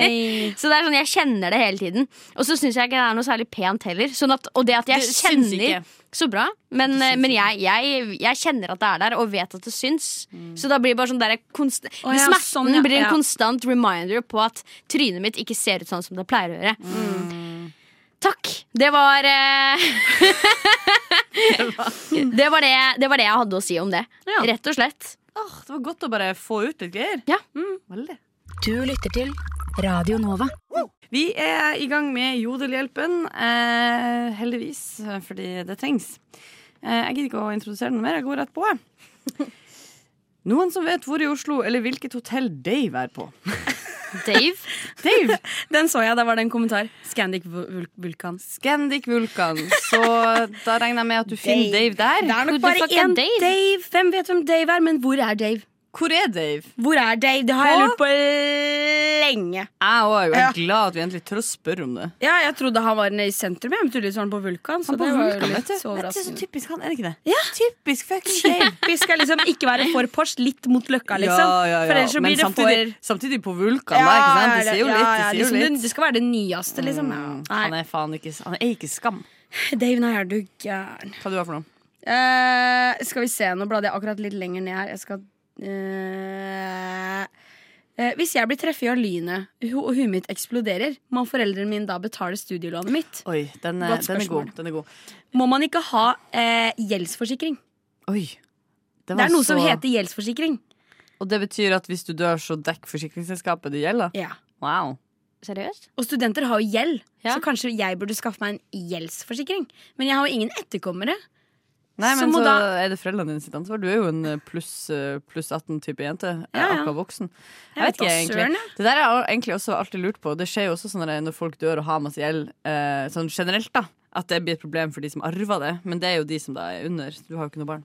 Så det er sånn, jeg kjenner det hele tiden. Og så syns jeg ikke det er noe særlig pent heller. Sånn at, og det at jeg Det syns ikke. kjenner Så bra. Men, men jeg, jeg, jeg kjenner at det er der, og vet at det syns. Så da blir det bare sånn der konst Mm. Å ja, Smerten sånn, ja. blir en Ja. konstant reminder på at trynet mitt ikke ser ut sånn som det pleier å gjøre. Mm. Takk. Det var eh, det, var det, det var det jeg hadde å si om det. Ja. Rett og slett. Åh, det var godt å bare få ut litt greier. Ja. Mm, veldig. Du lytter til Radio Nova. Vi er i gang med Jodelhjelpen, eh, heldigvis, fordi det trengs. Eh, jeg gidder ikke å introdusere den mer, jeg går rett på. jeg. Noen som vet hvor i Oslo, eller hvilket hotell Dave er på? Dave? Dave! Den så jeg, der var det en kommentar. Scandic Vul- Vul- Vulkan. Scandic Vulkan. Så da regner jeg med at du finner Dave der. Det er nok Who the bare fuck er én Dave? Dave? Hvem vet hvem Dave er, men hvor er Dave? Hvor er Dave? Hvor er Dave? Det har jeg Hå? lurt på lenge. Jeg òg er Ja. jo glad at vi endelig tør å spørre om det. Ja, jeg trodde han var i sentrum, jeg, men tydeligvis var han på Vulkan. Så Han på det var jo Vulkan, litt vet du. Det er så overraskende. typisk han, er det ikke det? Ja. Typisk fucking Dave. Vi skal liksom ikke være for Porsch, litt mot Løkka, liksom. Ja, ja, ja. For ellers så Men sånn blir det samtidig, for samtidig på Vulkan, sånn da. Ikke sant? Det sier jo ja, litt. ja, Det sier liksom, jo det- litt. Mm. Det skal være det nyeste, liksom. Ja. Han Nei, er faen ikke Han er ikke skam. Dave, nei, er du gæren. Hva du har for noe? Eh, skal vi se, nå bladde jeg akkurat litt lenger ned her. Jeg skal eh, eh, Hvis jeg blir treffet av lynet hu- og huet mitt eksploderer, må foreldrene mine da betale studielånet mitt? Oi, den, er- Godt den er spørsmål. god. Den er god. Må man ikke ha eh, gjeldsforsikring? Oi. Det er noe som heter gjeldsforsikring. Og det betyr at hvis du dør, så dekker forsikringsselskapet det gjelder? Ja. Wow. Seriøst? Og studenter har jo gjeld, Ja. så kanskje jeg burde skaffe meg en gjeldsforsikring. Men jeg har jo ingen etterkommere. Nei, Så men må så, da- er det foreldrene dine sitt ansvar. Du er jo en eh, pluss eh, pluss 18 type jente. eh, Ja, ja. Akkurat voksen. Jeg, vet vet ikke, da, egentlig. søren, jeg. Det der har jeg egentlig også alltid lurt på. Det skjer jo også sånn når, når folk dør og har masse gjeld, eh, sånn generelt, da. At det blir et problem for de som arver det. Men det er jo de som da er under. Du har jo ikke noe barn.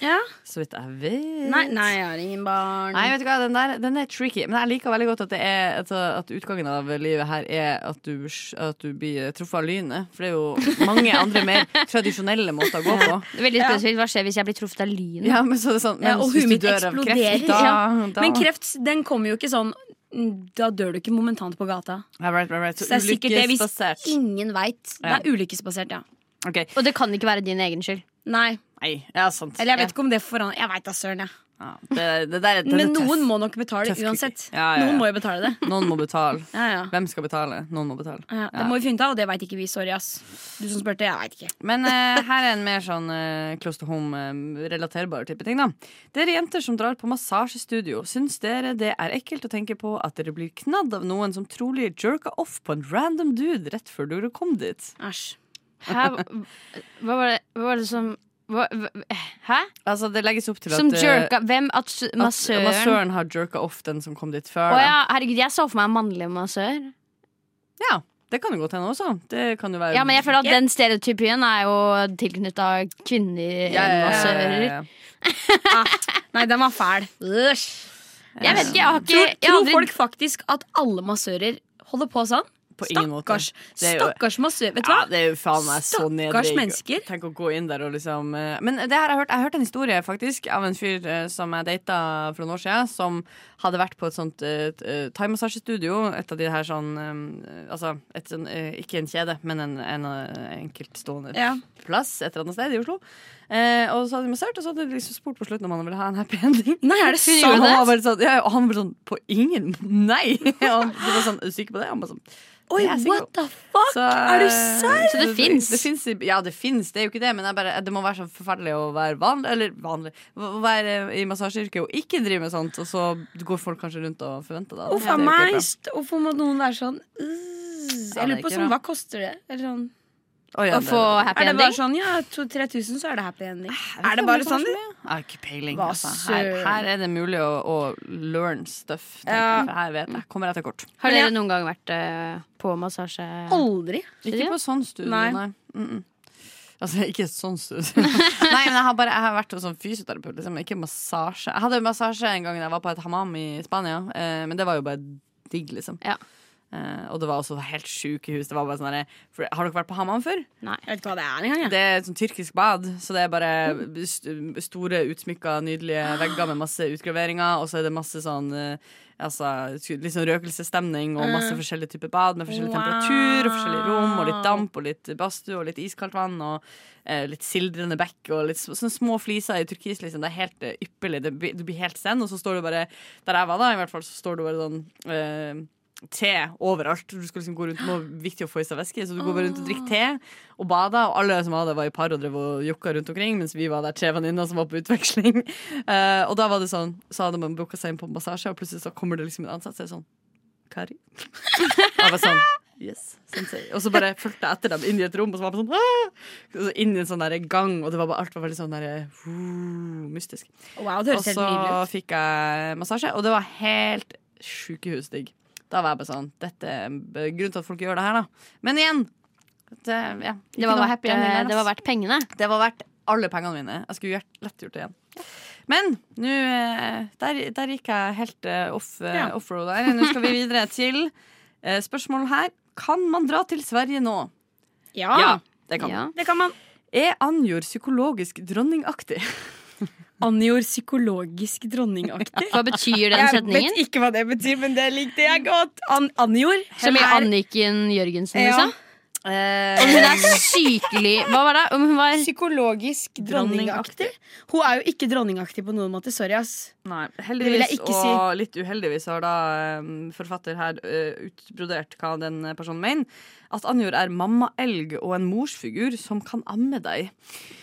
Ja. Så vidt jeg vet. Nei, nei, jeg har ingen barn. Nei, vet du hva, den der den er tricky. Men jeg liker veldig godt at, det er, altså, at utgangen av livet her er at du, at du blir truffet av lynet. For det er jo mange andre mer tradisjonelle måter å gå på. Veldig spesifikt. Hva skjer hvis jeg blir truffet av lynet? Ja, men så er det sånn men Ja, og hvis huet du mitt dør av eksploderer. Kreft, da, Ja. da. Men kreft den kommer jo ikke sånn mm, Da dør du ikke momentant på gata. ja, right, right, right. Så Så det er sikkert det hvis ulykkesbasert. ingen veit. Det Ja. er ulykkesbasert, ja. Ok, Og det kan ikke være din egen skyld. Nei. Nei, ja, sant. Eller jeg vet ikke om det forandrer Jeg veit da søren, jeg. ja, det, det der, den er Men tøff. noen må nok betale Tøff kritikk. uansett. Ja, ja, ja. Noen må jo betale det. Noen må betale. Ja, ja. Hvem skal betale? Noen må betale. Ja, det må vi finne ut av, og det veit ikke vi. Sorry, ass. Du som spurte, jeg veit ikke. Men eh, her er en mer sånn eh, close to home-relaterbar type ting, da. Dere jenter som drar på massasjestudio, syns dere det er ekkelt å tenke på at dere blir knadd av noen som trolig jerka off på en random dude rett før dere kom dit? Æsj. Hæ? Hva var det, hva var det som hva, hva, Hæ? Altså, det legges opp til Som at, eh, jerka Hvem? At s- at massøren Å massøren har jerka off den som kom dit før. ja, herregud, jeg så for meg en mannlig massør. da. ja, det kan jo godt hende også. Det kan jo være Ja, men jeg føler at den stereotypien er jo tilknytta kvinnelige Ja, ja, ja, ja, massører. ja, ja. Ah, Nei, den var fæl. Æsj. Jeg vet ikke, jeg har ikke Tror, jeg har tror aldri, folk faktisk at alle massører holder på sånn? På ingen måte. Stakkars. Det er jo- Stakkars massør. Vet du Ja, hva? det er jo faen meg så Stakkars nedrig. mennesker. Tenk å gå inn der og liksom eh, Men det her har jeg hørt Jeg har hørt en historie faktisk av en fyr eh, som jeg data for noen år siden, som hadde vært på et sånt eh, t- eh, thaimassasjestudio. Et av de her sånn eh, Altså et sånn eh, ikke en kjede, men en, en eh, enkeltstående Ja. plass et eller annet sted i Oslo. Eh, og så hadde de massert, og så hadde de liksom spurt på slutten om han ville ha en happy ending. Nei, er det Hun sant? gjorde det? Og han var sånn, ja, og han var sånn På ingen Nei! Og han var sånn, er du sikker på det? Han var sånn Oi, jeg er sikker what the fuck? så, er du serr? Så det finnes? Det finnes i- ja, det fins. Det er jo ikke det, men jeg bare, det må være så forferdelig å være vanlig Eller vanlig Å være i massasjeyrket og ikke drive med sånt, og så går folk kanskje rundt og forventer det. Uff Det er a jo ikke meg. bra. st- Hvorfor må noen være sånn Ja, øh, Jeg det er lurer på ikke sånn, bra. hva koster det? Eller sånn Å, ja, å det- få Er happy det bare ending. sånn, ja, 2000-3000, så er det happy ending. Jeg vet Er ikke det om bare det er sånn? så mye. Jeg har ikke peiling. Hva Altså. Her, søren. her er det mulig å, å learn stuff. tenker Ja. jeg, For her vet jeg. Kommer jeg til kort. Har Men dere jeg- noen gang vært eh, på massasje? Aldri. Ikke på sånn studio, nei. Nei. Mm -mm. Altså, ikke et sånt studio. nei, men jeg har, bare, jeg har vært hos sånn fysioterapeut, liksom. Ikke massasje. Jeg hadde massasje en gang da jeg var på et hammam i Spania, eh, men det var jo bare digg, liksom. Ja. Eh, og det var også helt sykehus. Det var bare sånn derre- for- Har dere vært på hammam før? Jeg vet ikke hva det er engang. jeg. Det er et sånt tyrkisk bad, så det er bare st- store, utsmykka, nydelige vegger med masse utgraveringer, og så er det masse sånn eh, Altså, litt sånn røkelsesstemning og masse forskjellige typer bad med forskjellig Wow. temperatur og forskjellige rom og litt damp og litt badstue og litt iskaldt vann og eh, litt sildrende bekk og litt s- sånne små fliser i turkis. Liksom. Det er helt eh, ypperlig. Det, blir- du blir helt zen, og så står du bare Der jeg var, da, i hvert fall, så står du bare sånn eh, te overalt. Du skal liksom gå rundt med viktig å få i seg væske, så du går bare rundt og drikker te og bada. Og alle som var der, var i par og drev og jokka rundt omkring, mens vi var der tre venninner som var på utveksling. Eh, og da var det sånn, så hadde man booka seg inn på massasje, og plutselig så kommer det liksom en ansatt og sier sånn Kari. Og jeg var sånn Yes, sensei. Og så bare fulgte jeg etter dem inn i et rom, og så var jeg bare sånn «Ah!» og så Inn i en sånn der gang, og det var bare, alt var veldig sånn der, uh, mystisk. Wow, Og det altså, høres helt så nydelig ut. fikk jeg massasje, og det var helt sjukehusdigg. Da var jeg bare sånn Dette er grunnen til at folk gjør det her, da. Men igjen! Det, ja, ikke Det var, noe verdt, eh, happy ending der, det ass. var verdt pengene. Det var verdt alle pengene mine. Jeg skulle gjort, lett gjort det igjen. Men nå eh, der, der gikk jeg helt eh, off, eh, Ja. offroad her. Nå skal vi videre til eh, spørsmålet her. Kan man dra til Sverige nå? Ja, det kan Ja. man. det kan man. Er Anjor psykologisk dronningaktig? Anjor psykologisk dronningaktig. Hva betyr den Jeg vet setningen? ikke hva det betyr, men det likte jeg godt. An Anjor. Som i er- Anniken Jørgensen, Ja. liksom? Eh, Om hun er sykelig Hva var det? Om hun var Psykologisk dronningaktig? Hun er jo ikke dronningaktig på noen måte. Sorry, ass. Nei, Det vil heldigvis jeg ikke og litt uheldigvis har da eh, forfatter her eh, utbrodert hva den personen mener. At Anjor er mammaelg og en morsfigur som kan amme deg.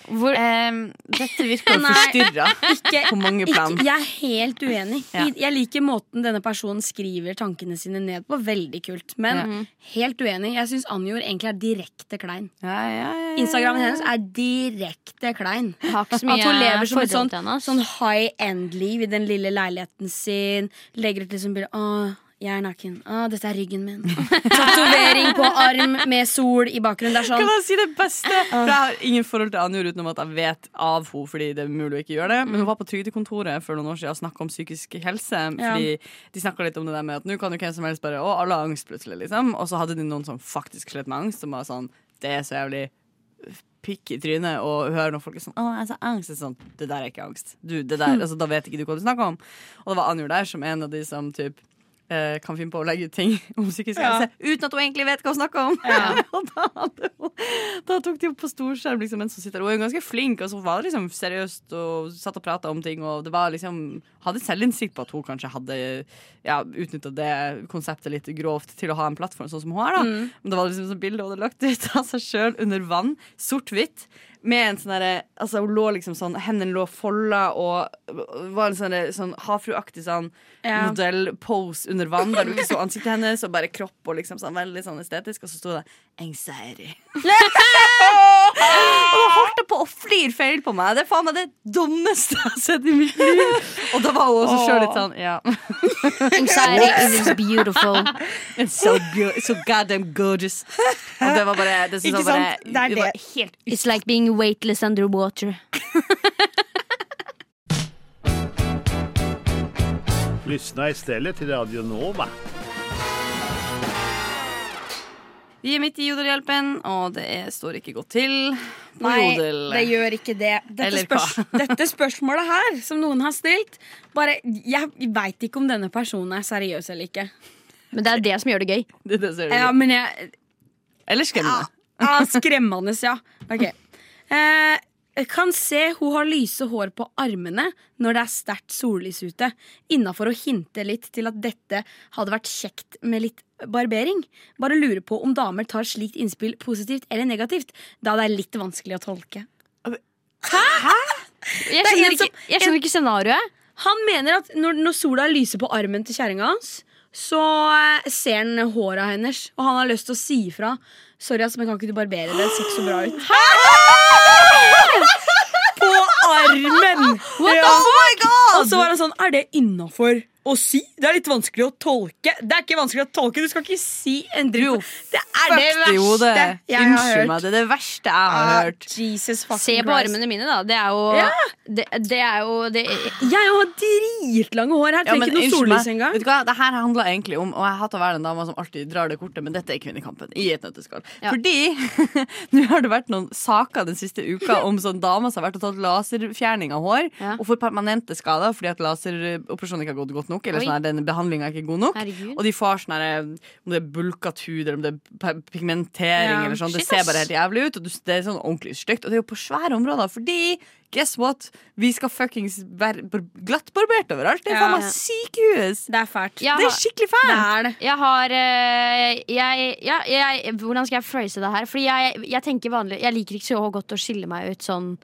hvor, Em, dette virker Nei. forstyrra Ikke, på mange plan. ikke, jeg er helt uenig. Ja. I- Jeg liker måten denne personen skriver tankene sine ned på. Veldig kult. Men helt uenig. Jeg syns Anjor egentlig er direkte klein. Ja, ja, ja. Instagrammen hennes er direkte klein. har ikke så mye At hun lever som et forhold sånn, til henne, ass. sånn high end-liv i den lille leiligheten sin. Legger ut liksom bilde Åh, jeg er naken. Åh, dette er ryggen min. Tatovering på arm med sol i bakgrunnen. Det er Kan sånn. jeg si det beste? For Jeg har ingen forhold til Anjor utenom at jeg vet av henne. Fordi det er mulig å ikke gjøre det Men hun var på Trygdekontoret for noen år siden og snakka om psykisk helse. Fordi De snakka litt om det der med at nå kan jo hvem som helst bare Å, alle har angst plutselig, liksom. Og så hadde de noen som faktisk slet med angst, som var sånn Det er så jævlig pikk i trynet og hører når folk er sånn 'Å, jeg har så angst.' Det er sånn, det der er ikke angst. Du, det der, altså, da vet ikke du hva du snakker om. Og det var Anjor der som en av de som typ eh, kan finne på å legge ut ting om psykisk helse uten at hun egentlig vet hva hun snakker om. og da, hadde hun, da tok de opp på storskjerm liksom, en som sitter der. Hun er jo ganske flink, og så var det liksom seriøst og satt og prata om ting. Og det var liksom hadde selvinnsikt på at hun kanskje hadde ja, utnytta det konseptet litt grovt til å ha en plattform sånn som hun har. da Men det var liksom sånn bilde hun hadde lagt ut av seg sjøl under vann, sort-hvitt. Med en sånn derre Altså, hun lå liksom sånn, hendene lå folda og var en sånn, derre- sånn havfrueaktig sånn Ja. modell-pose under vann, der du ikke så ansiktet hennes, og bare kropp og liksom sånn veldig sånn estetisk, og så sto det 'anxiety'. Og hun holdt på å flire feil på meg. Det er faen meg det dummeste jeg har sett i mitt liv. Og da var hun også sjøl litt sånn ja. Anxiety is beautiful. It's so, beau- so goddamn gorgeous. Og det var bare Det, synes jeg Ikke bare, sant? Det er var det. helt It's like being weightless underwater. Lyssna istället till Radio Nova. Vi er midt i Jodelhjelpen, og det er, står ikke godt til på Nei, Jodel. det gjør ikke det. Dette, Eller hva? dette spørsmålet her, som noen har stilt bare, Jeg veit ikke om denne personen er seriøs eller ikke. Men det er det som gjør det gøy. Det er det som gjør det. Ja, men jeg, Eller skremmende. Ah, skremmende, ja. Ok. Eh, kan se hun har lyse hår på armene når det er sterkt sollys ute. Innafor å hinte litt til at dette hadde vært kjekt med litt barbering. Bare lurer på om damer tar slikt innspill positivt eller negativt, da det er litt vanskelig å tolke. Jeg Det er en skjønner ikke, som- jeg skjønner ikke scenarioet. Han mener at når, når sola lyser på armen til kjerringa hans, så eh, ser han håra hennes, og han har lyst til å si ifra. Sorry, ass, men kan ikke du barbere det? Det ser ikke så bra ut. på armen! Oh Og så var han sånn, er det innafor å si? Det er litt vanskelig å tolke. Det er ikke vanskelig å tolke, du skal ikke si en dritt. Det er det Fuck i hodet. verste jeg har Unnskyld meg, hørt. det er det verste jeg har Ah, hørt. Jesus fucking Se på Christ. armene mine, da. Det er jo Ja. det, det er jo det, Jeg har dritlange hår her. Ja, Trenger men ikke noe unnskyld sollys meg. engang. Vet du hva? Det her handler egentlig om Og jeg hater å være den dama som alltid drar det kortet, men dette er kvinnekampen i et nøtteskall. Ja. Fordi nå har det vært noen saker den siste uka om sånn damer som har vært og tatt laserfjerning av hår Ja. og får permanente skader fordi at laseroperasjonen ikke har gått godt nok, eller Oi. sånn her, den behandlinga er ikke god nok. Herregud. Og de får sånn her om det er bulket hud, eller om det er pe- pigmentering, Ja. eller sånn. Det Shit, ser ass. bare helt jævlig ut, og du- det er sånn ordentlig stygt. Og det er jo på svære områder, fordi Guess what? Vi skal fuckings være bar- glattbarbert overalt. Det er Ja. faen meg sykehus! Det er fælt. Ja. Det er skikkelig Det fælt! er det. Jeg har eh, jeg, ja, jeg, Hvordan skal jeg phrase det her? Fordi jeg, jeg tenker vanlig Jeg liker ikke så godt å skille meg ut sånn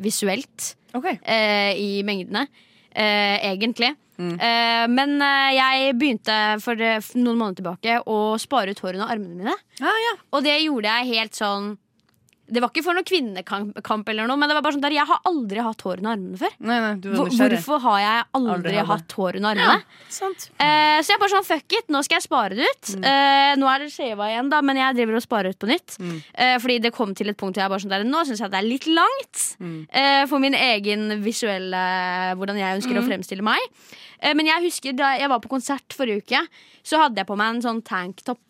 visuelt. eh, i mengdene. eh, egentlig. Mm. Eh, men eh, jeg begynte for eh, f- noen måneder tilbake å spare ut hårene og armene mine. Ja, ja. Og det gjorde jeg helt sånn Det var ikke for noen kvinnekamp, kamp eller noe men det var bare sånn der, jeg har aldri hatt hår under armene før. Nei, nei, du var Hvor, nysgjerrig. hvorfor har jeg aldri, Aldri hadde. hatt hår under armene? Sant. Eh, så jeg bare sånn, fuck it, nå skal jeg spare det ut. Eh, nå er det skjeva igjen, da, men jeg driver og sparer ut på nytt. Eh, fordi det kom til et punkt hvor jeg bare sånn der, nå syns jeg det er litt langt. Eh, for min egen visuelle Hvordan jeg ønsker å fremstille meg. Eh, men jeg husker da jeg var på konsert forrige uke, så hadde jeg på meg en sånn tanktop.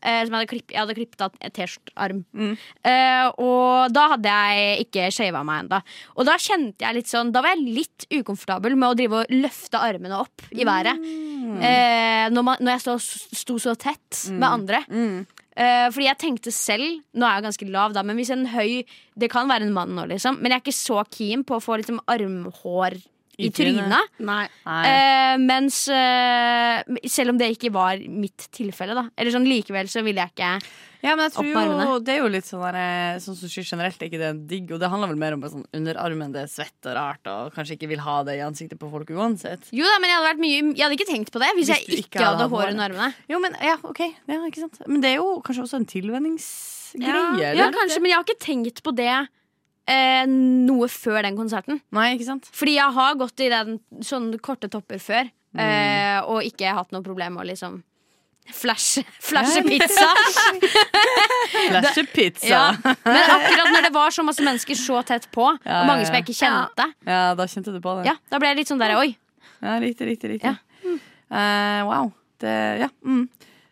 eh, Som jeg hadde klipp, jeg hadde klippet av et T-skjorte-arm. Mm. Eh, og da hadde jeg ikke shava meg ennå. Og da kjente jeg litt sånn Da var jeg litt ukomfortabel med å drive og løfte armene opp i været. Mm. Eh, når, man, når jeg sto, sto så tett med andre. Mm. Eh, fordi jeg tenkte selv Nå er jeg jo ganske lav, da, men hvis en høy Det kan være en mann nå, liksom, men jeg er ikke så keen på å få liksom, armhår i, I trynet. trynet. Nei. Nei. Eh, mens eh, Selv om det ikke var mitt tilfelle, da. Eller sånn likevel så ville jeg ikke Ja, men jeg tror opp med jo, armene. det er jo litt sånn der, Sånn sushi generelt er ikke det digg, og det handler vel mer om bare sånn underarmen. Det er svett og rart, og kanskje ikke vil ha det i ansiktet på folk uansett. Jo da, men jeg hadde, vært mye, jeg hadde ikke tenkt på det hvis, jeg ikke, hadde hår under armene. Jo, men ja, ok. Ja, ikke sant. Men det er jo kanskje også en tilvenningsgreie. Ja, eller? kanskje, men jeg har ikke tenkt på det eh, noe før den konserten. Nei, ikke sant? Fordi jeg har gått i den sånne korte topper før eh, og ikke hatt noe problem med å liksom flashe, flashe pizza. Flashepizza. ja. Ja. Men akkurat når det var så masse mennesker så tett på, Ja, og mange ja, som jeg ikke kjente, da kjente du på det. ja, da ble jeg litt sånn der oi. Ja, riktig, riktig, riktig. Ja. Eh, wow. Det, ja. Mm.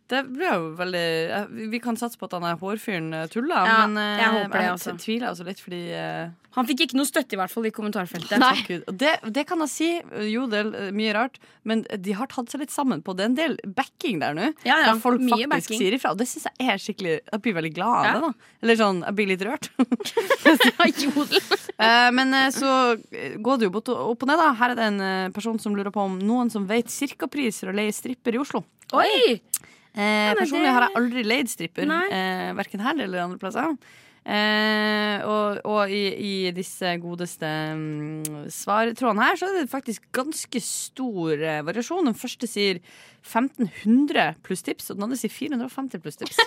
Det ble jo veldig eh, vi- Vi kan satse på at han er hårfyren eh, tuller, Ja, men eh, jeg håper det t- også. tviler også litt, fordi eh, Han fikk ikke noe støtte i hvert fall i kommentarfeltet. Nei. Gud. Og det, det kan jeg si. Jo, det er eh, mye rart, men de har tatt seg litt sammen på det. er en del backing der nå. Ja, ja, der folk mye faktisk backing. sier ifra. Og det syns jeg er skikkelig Jeg blir veldig glad av Ja. det, da. Eller sånn, jeg blir litt rørt. Jodel. Eh, men eh, så eh, går det jo bort og- opp og ned, da. Her er det en eh, person som lurer på om noen som vet cirka-pris for å leie stripper i Oslo. Oi! Eh, men personlig det- har jeg aldri leid stripper, Nei. eh, verken her eller andre plasser. Eh, og og i, i disse godeste mm, svartrådene her, så er det faktisk ganske stor eh, variasjon. Den første sier 1500 pluss tips, og den andre sier 450 pluss tips.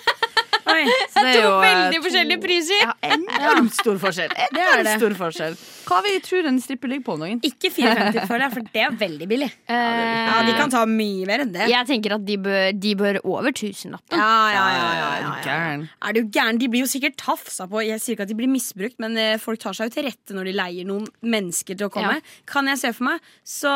Oi. Så det er jo, eh, Veldig forskjellige priser. Ja, enormt stor forskjell. er Enormt det. stor forskjell. Hva vi tror en stripper ligger på om dagen? Ikke 450 for det, for det er veldig billig. Eh, Ja, De kan ta mye mer enn det. jeg tenker at de bør, de bør over tusenlappen. Ja, ja, ja, ja, ja, Er du ja. gæren? Er du gæren? De blir jo sikkert tafsa på. Jeg sier ikke at de blir misbrukt, men eh, folk tar seg jo til rette når de leier noen mennesker til å komme. Ja. Kan jeg se for meg, så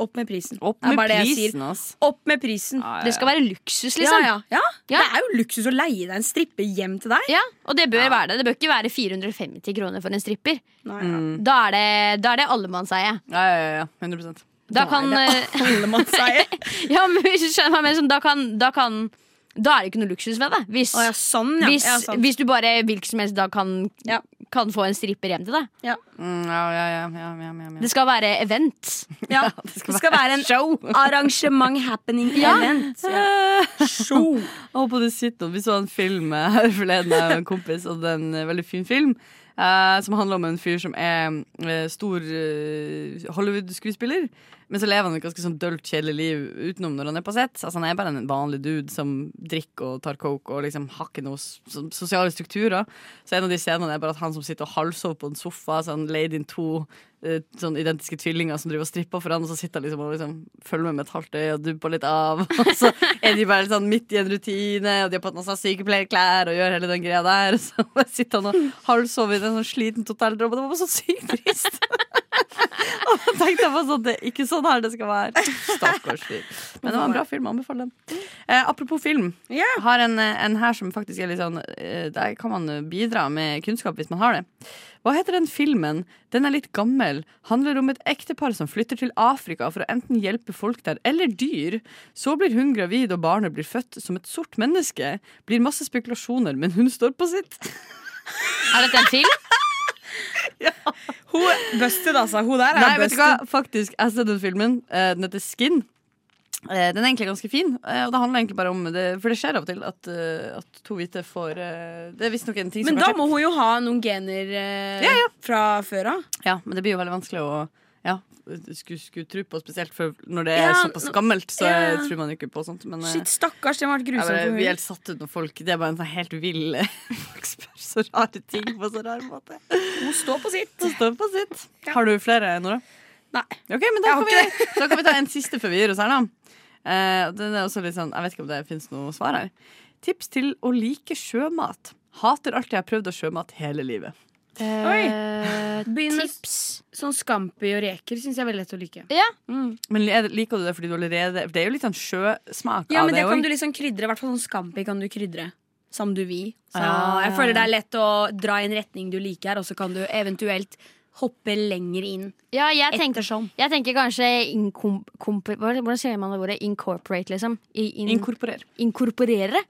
opp med prisen. Opp Det er med bare det jeg sier. prisen, ass. Opp med prisen. Ja, ja, Det skal være luksus, Ja, liksom. ja, ja. Ja. Det er jo luksus å leie deg en stripper hjem til deg. Ja, og det bør være det. Det bør ikke være 450 kroner for en stripper. Nei, ja. Da er det, da er det allemannseie. Ja, ja, ja, ja. 100 Da kan eh, Allemannseie. Ja, men hvis du skjønner hva jeg mener, sånn, da kan, da kan Da er det ikke noe luksus ved det. Hvis, Å ja, sånn, ja. hvis, ja, sant. hvis du bare hvilken som helst dag kan, Ja. kan få en stripper hjem til deg. Mm, ja, ja, ja, ja, ja, ja, ja. Det skal være event. ja. Det skal, være en show. arrangement happening event. Ja. Show. Jeg håper det sitter noen. Vi så en film eh, her forleden av en kompis, og det er en eh, veldig fin film. eh, som handler om en fyr som er eh, stor eh, Hollywood-skuespiller. Men så lever han et ganske sånn dølt, kjedelig liv utenom når han er på sett. Altså, han er bare en vanlig dude som drikker og tar coke og liksom har ikke noen sosiale strukturer. Så en av de scenene er bare at han som sitter og halvsover på en sofa, så han leid inn to eh, sånn identiske tvillinger som driver og stripper for han, og så sitter han liksom og liksom følger med med et halvt øye og dupper litt av. Og så er de bare sånn midt i en rutine, og de har på seg sånn sykepleierklær og gjør hele den greia der. Og så bare sitter han og halvsover i en sånn slitent hotelldrom, og det var bare så sykt trist. og da tenkte jeg bare sånn, det er ikke sånn her det skal være. Stakkars fyr. Men det var en bra film, jeg anbefaler den. Eh, apropos film, Ja. jeg har en, eh, en her som faktisk er litt sånn eh, Der kan man eh, bidra med kunnskap hvis man har det. Hva heter den filmen? Den er litt gammel. Handler om et ektepar som flytter til Afrika for å enten hjelpe folk der eller dyr. Så blir hun gravid, og barnet blir født som et sort menneske. Blir masse spekulasjoner, men hun står på sitt. Er dette en film? Hun busted, altså. Hun der er Nei, vet du hva? busted. Faktisk, jeg har sett den filmen. eh, Den heter Skin. Eh, Den er egentlig ganske fin, eh, og det handler egentlig bare om det, For det skjer av og til at, eh, at to hvite får eh, Det er visstnok en ting Men som da kanskje- må hun jo ha noen gener eh, fra før av. Ja, men det blir jo veldig vanskelig å ja, skulle, skulle tro på, spesielt for når det er Ja, såpass nå- gammelt, så ja. tror man jo ikke på sånt. Men eh, Shit, stakkars, det må ha vært jeg grusomt. bare for blir henne. helt satt ut når folk Det er bare en sånn helt vill Folk spør så rare ting på så rar måte. Hun står på sitt. Så står det på sitt. Har du flere, Nora? Nei. Ok, men da Jeg kan, har vi, da kan vi ta en siste før vi gir oss her, da. Eh, og den er også litt sånn, Jeg vet ikke om det finnes noe svar her. Tips til å like sjømat. Hater alt jeg har prøvd av sjømat hele livet. Eh, Begynn med tips. Sånn scampi og reker syns jeg er veldig lett å like. Ja. Men er det- liker du det fordi du allerede For det er jo litt sånn sjøsmak Ja, av men det det kan også. du liksom krydre. I hvert fall sånn scampi kan du krydre. Som du vil. Så Ah. jeg føler det er lett å dra i en retning du liker, og så kan du eventuelt hoppe lenger inn Ja, jeg tenker, ettersom. jeg tenker kanskje inkom, komp, Hvordan sier man det ordet? Incorporate, liksom. I, in, Inkorporer. inkorporere.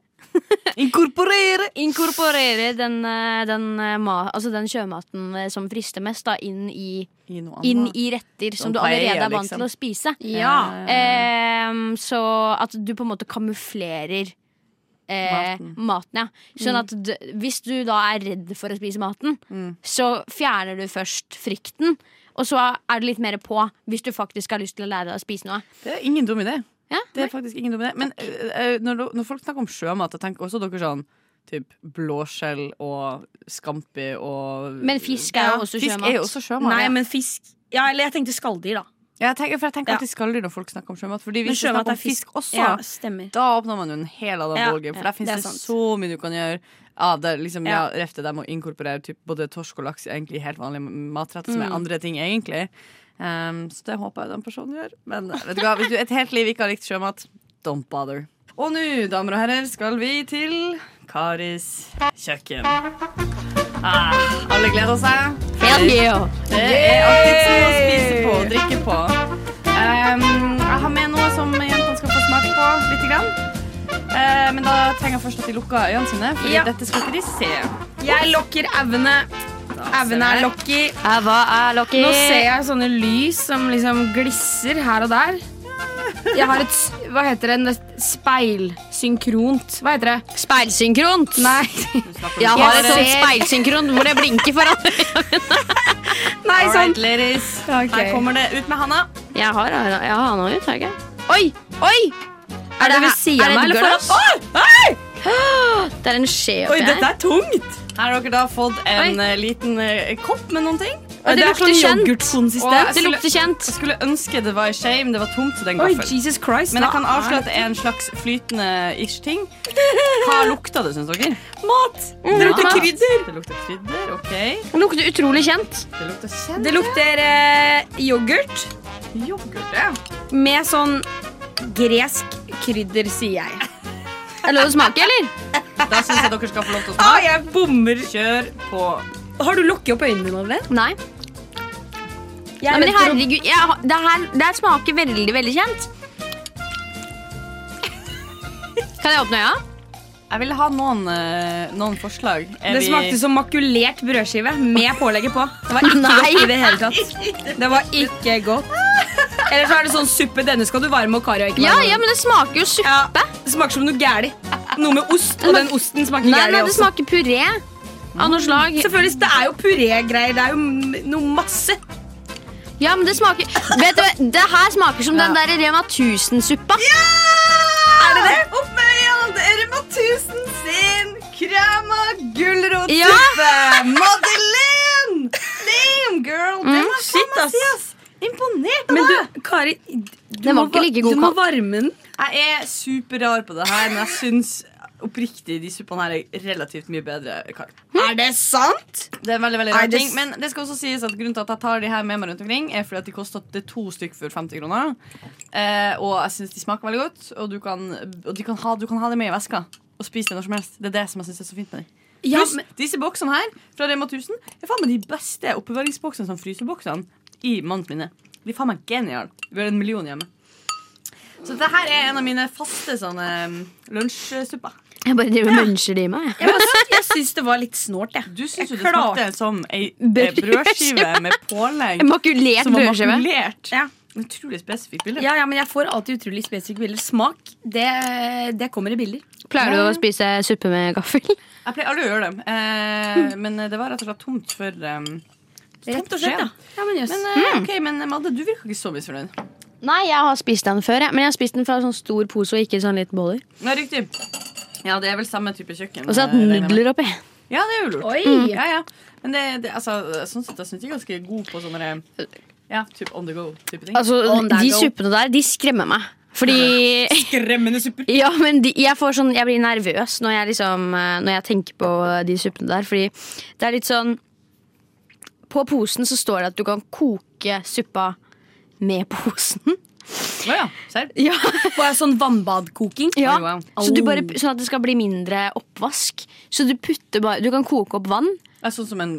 Inkorporere! Inkorporere den, eh, den, eh, ma, altså den sjømaten eh, som frister mest, da, inn i, I noe annet. inn i retter som Sånn du allerede paella, er vant liksom. til å spise. Ja. Ehm, så at du på en måte kamuflerer eh, maten. Maten. Mm. ja. Sånn at du, hvis du da er redd for å spise maten, så fjerner du først frykten. Og så er du litt mer på hvis du faktisk har lyst til å lære deg å spise noe. Det er ingen dum idé. Ja, Det er faktisk ingen dum idé. Men eh, eh, når, du- når folk snakker om sjømat, da tenker også dere sånn typ blåskjell og scampi og Men fisk er jo også sjømat. Fisk er jo også sjømat. Nei, ja. men fisk Ja, eller jeg tenkte skalldyr, da. Ja, jeg tenker, for jeg tenker Ja. alltid skalldyr når folk snakker om sjømat. Fordi Men hvis sjømat du snakker er om fisk, fisk. også, Ja, stemmer. da åpner man jo en hel annen Ja, ballgame. For ja, der finnes det er det, sant. så mye du kan gjøre. Ja, det er liksom, ja. Ja. Refte dem og inkorporere typ, både torsk og laks i egentlig helt vanlige matretter, Mm. som er andre ting, egentlig. Ehm, så det håper jeg den personen gjør. Men vet du hva, hvis du et helt liv ikke har likt sjømat, don't bother. Og nå, damer og herrer, skal vi til Karis kjøkken. Ah, alle gleder seg. Hell yeah! Det er alltid noe å spise på og drikke på. Ehm, jeg har med noe som jentene skal få smake på lite grann. Eh, men da trenger jeg først at de lukker øynene sine, for Ja. dette skal ikke de se. Jeg lokker auene. Auene ser er jeg. lokki. Hva er Loki? Nå ser jeg sånne lys som liksom glisser her og der. Jeg har et s- Hva heter det? Et Speilsynkront. Hva heter det? Speilsynkront! Nei, Jeg har Jeg et sånt ser- speilsynkront hvor jeg blinker foran. Nei All sånn. right, ladies. Her Ok. kommer det ut med Hanna. Jeg har, jeg har hana ut, har jeg ikke? Oi! Oi! Er det ved siden av meg eller foran? Det er en skje Oi, oppi dette her. er tungt. Her har dere da fått en eh, liten eh, kopp med noen ting. det er lukter sånn kjent. yoghurtkonsistens. Det Jeg lukter skulle- kjent. jeg skulle ønske det var i skje, men det var tomt, så den Oi, gaffelen. Jesus Christ. Men jeg hva kan avsløre er at det er en slags flytende ish-ting. Hva lukta det, syns dere? det? Mat! Det lukter krydder. Det lukter krydder, ok. Det lukter utrolig kjent. Det lukter kjent. Det lukter eh, yoghurt Yoghurt, ja. med sånn gresk krydder, sier jeg. Er det lov å smake, eller? Da syns jeg dere skal få lov til å Ah, smake. jeg bommer. Kjør på. Har du lukket opp øynene dine? Madeleine? Nei. Jeg Nei, er men redd for å- herregud, jeg, har- det, her, det her smaker veldig, veldig kjent. Kan jeg åpne øya? Jeg ville ha noen, eh, noen forslag. Er Det smakte som makulert brødskive med pålegget på. Det var ikke Nei. godt i det hele tatt. Det var ikke godt. Eller så er det sånn suppe. Denne skal du varme og karri og ikke Ja, varme. ja, men det smaker jo suppe. Ja, det smaker som noe gæli. Noe med ost, og den osten smaker Nei, nei, gæli det Mm, også. smaker puré av noe slag. Selvfølgelig, Det er jo purégreier. Det er jo m- noe masse. Ja, men det smaker Vet du hva, det her smaker som den der Rema 1000-suppa. Er det det? Opp med øynene! Erma 1000 sin krema gulrotsuppe! Madeleine! Damn, girl! Det må faen meg sies. Imponert av Men deg. du, Kari, du, Den var må, ikke like god du må kald. varme den. Jeg er superrar på det her, men jeg syns oppriktig de suppene her er relativt mye bedre. Kar. Hm? Er det sant? Det er en veldig, veldig Nei, rar det ting s- Men det skal også sies at grunnen til at jeg tar de her med meg rundt omkring, er fordi at de koster det er to stykk for 50 kroner. Eh, og jeg syns de smaker veldig godt, og, du kan, og de kan ha, du kan ha det med i veska. Og spise det når som helst. Det er det som jeg synes er så fint med dem. Ja, Pluss, men- disse boksene her fra Rema 1000 er faen meg de beste oppbevaringsboksene som fryseboksene i mannens minne. De er faen meg geniale. Vi har en million hjemme. Så det her er en av mine faste sånne um, lunsjsupper. Jeg bare driver og muncher det i meg. jeg. Jeg, bare- jeg syns det var litt snålt, jeg. Du syns jo det klarte- smakte som ei ei Brødskive. brødskive med pålegg. En makulert Som var brødskive. makulert. Ja. Utrolig spesifikt bilde. Ja, ja, men jeg får alltid utrolig spesifikke bilder. Smak, det, det kommer i bilder. Pleier du å spise suppe med gaffel? Hmm. Jeg pleier aldri å gjøre det, eh, men det var rett og slett tomt for eh, Rett og slett, da. Ja, men jøss. Men, eh, ok, men Madde, du virker ikke så misfornøyd. Nei, jeg har spist den før, jeg. men jeg har spist den fra en sånn stor pose og ikke sånn liten boller. Nei, riktig. Ja, det er vel samme type kjøkken. Og så hatt eh, regner jeg med. nudler oppi. Ja, det er jo lurt. Oi! mm. Ja, ja. Men det, det, altså, sånn sett, jeg syns de er ganske gode på sånne eh, ja, typ on the go-type ting. Altså, On that de go. suppene der, de skremmer meg. Fordi Skremmende supper. Ja, men de, jeg, får sånn, jeg blir nervøs når jeg, liksom, eh, når jeg tenker på de suppene der. Fordi det er litt sånn På posen så står det at du kan koke suppa med posen. Å ja. Serr? Ja, Bare sånn vannbadkoking. ja. Oi, wow. Så du bare, sånn at det skal bli mindre oppvask. Så du, putter bare, du kan koke opp vann, Ja, Sånn som en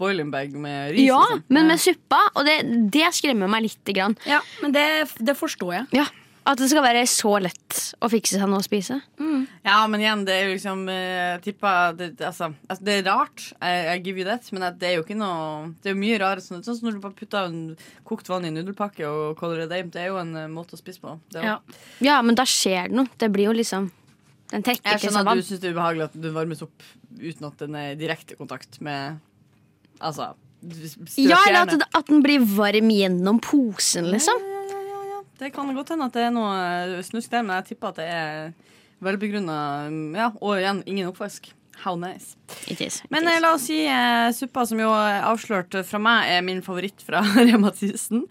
boiling bag med ris? ja, liksom. men med suppa. Og det, det skremmer meg lite grann. Ja, men det, det forstår jeg. Ja. At det skal være så lett å fikse seg noe å spise. Ja, men igjen, det er jo liksom eh, tippa det, det- altså, altså, det er rart, I, I give you that, men at det er jo ikke noe Det er jo mye rare sånn, sånn som når du bare putter en kokt vann i en nudelpakke og caller it aim. Det er jo en eh, måte å spise på. Det er jo- Ja. Ja, men da skjer det noe. Det blir jo liksom Den trekker Jeg ikke seg skjønner at du vann. syns det er ubehagelig at den varmes opp uten at den er i direkte kontakt med Altså strøkjerne. Ja, eller at, at den blir varm gjennom posen, liksom. Det kan godt hende at det er noe eh, snusk der, men jeg tipper at det er velbegrunna. Ja, og igjen, ingen oppvask. How nice. It is, it Men eh, is. la oss si eh, suppa, som jo er avslørt fra meg, er min favoritt fra Rema 1000.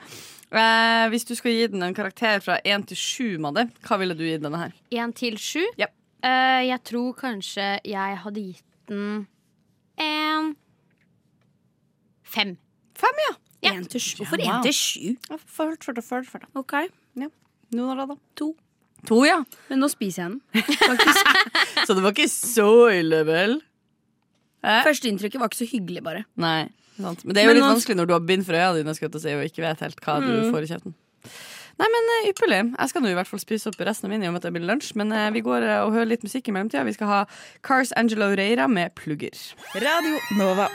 Eh, hvis du skulle gi den en karakter fra 1 til 7, Madde, hva ville du gi denne her? Én til sju. Ja. Eh, jeg tror kanskje jeg hadde gitt den en fem. Fem, ja. Én til sju. Hvorfor én til sju? Ført, ført, ført, ført. Ok. Noen av da? To. To, ja. Men nå spiser jeg den. Så det var ikke så ille, vel? Førsteinntrykket var ikke så hyggelig, bare. Nei. Sant. Men Mm. det er jo Men litt man- vanskelig når du har bind for øya dine skal jeg til å si, og ikke vet helt hva du får i kjeften. Nei, men eh, ypperlig. Jeg skal nå i hvert fall spise opp resten av min i og med at det blir lunsj. Men eh, vi går eh, og hører litt musikk i mellomtida. Vi skal ha Cars Angelo Reira med 'Plugger'. Radio Nova.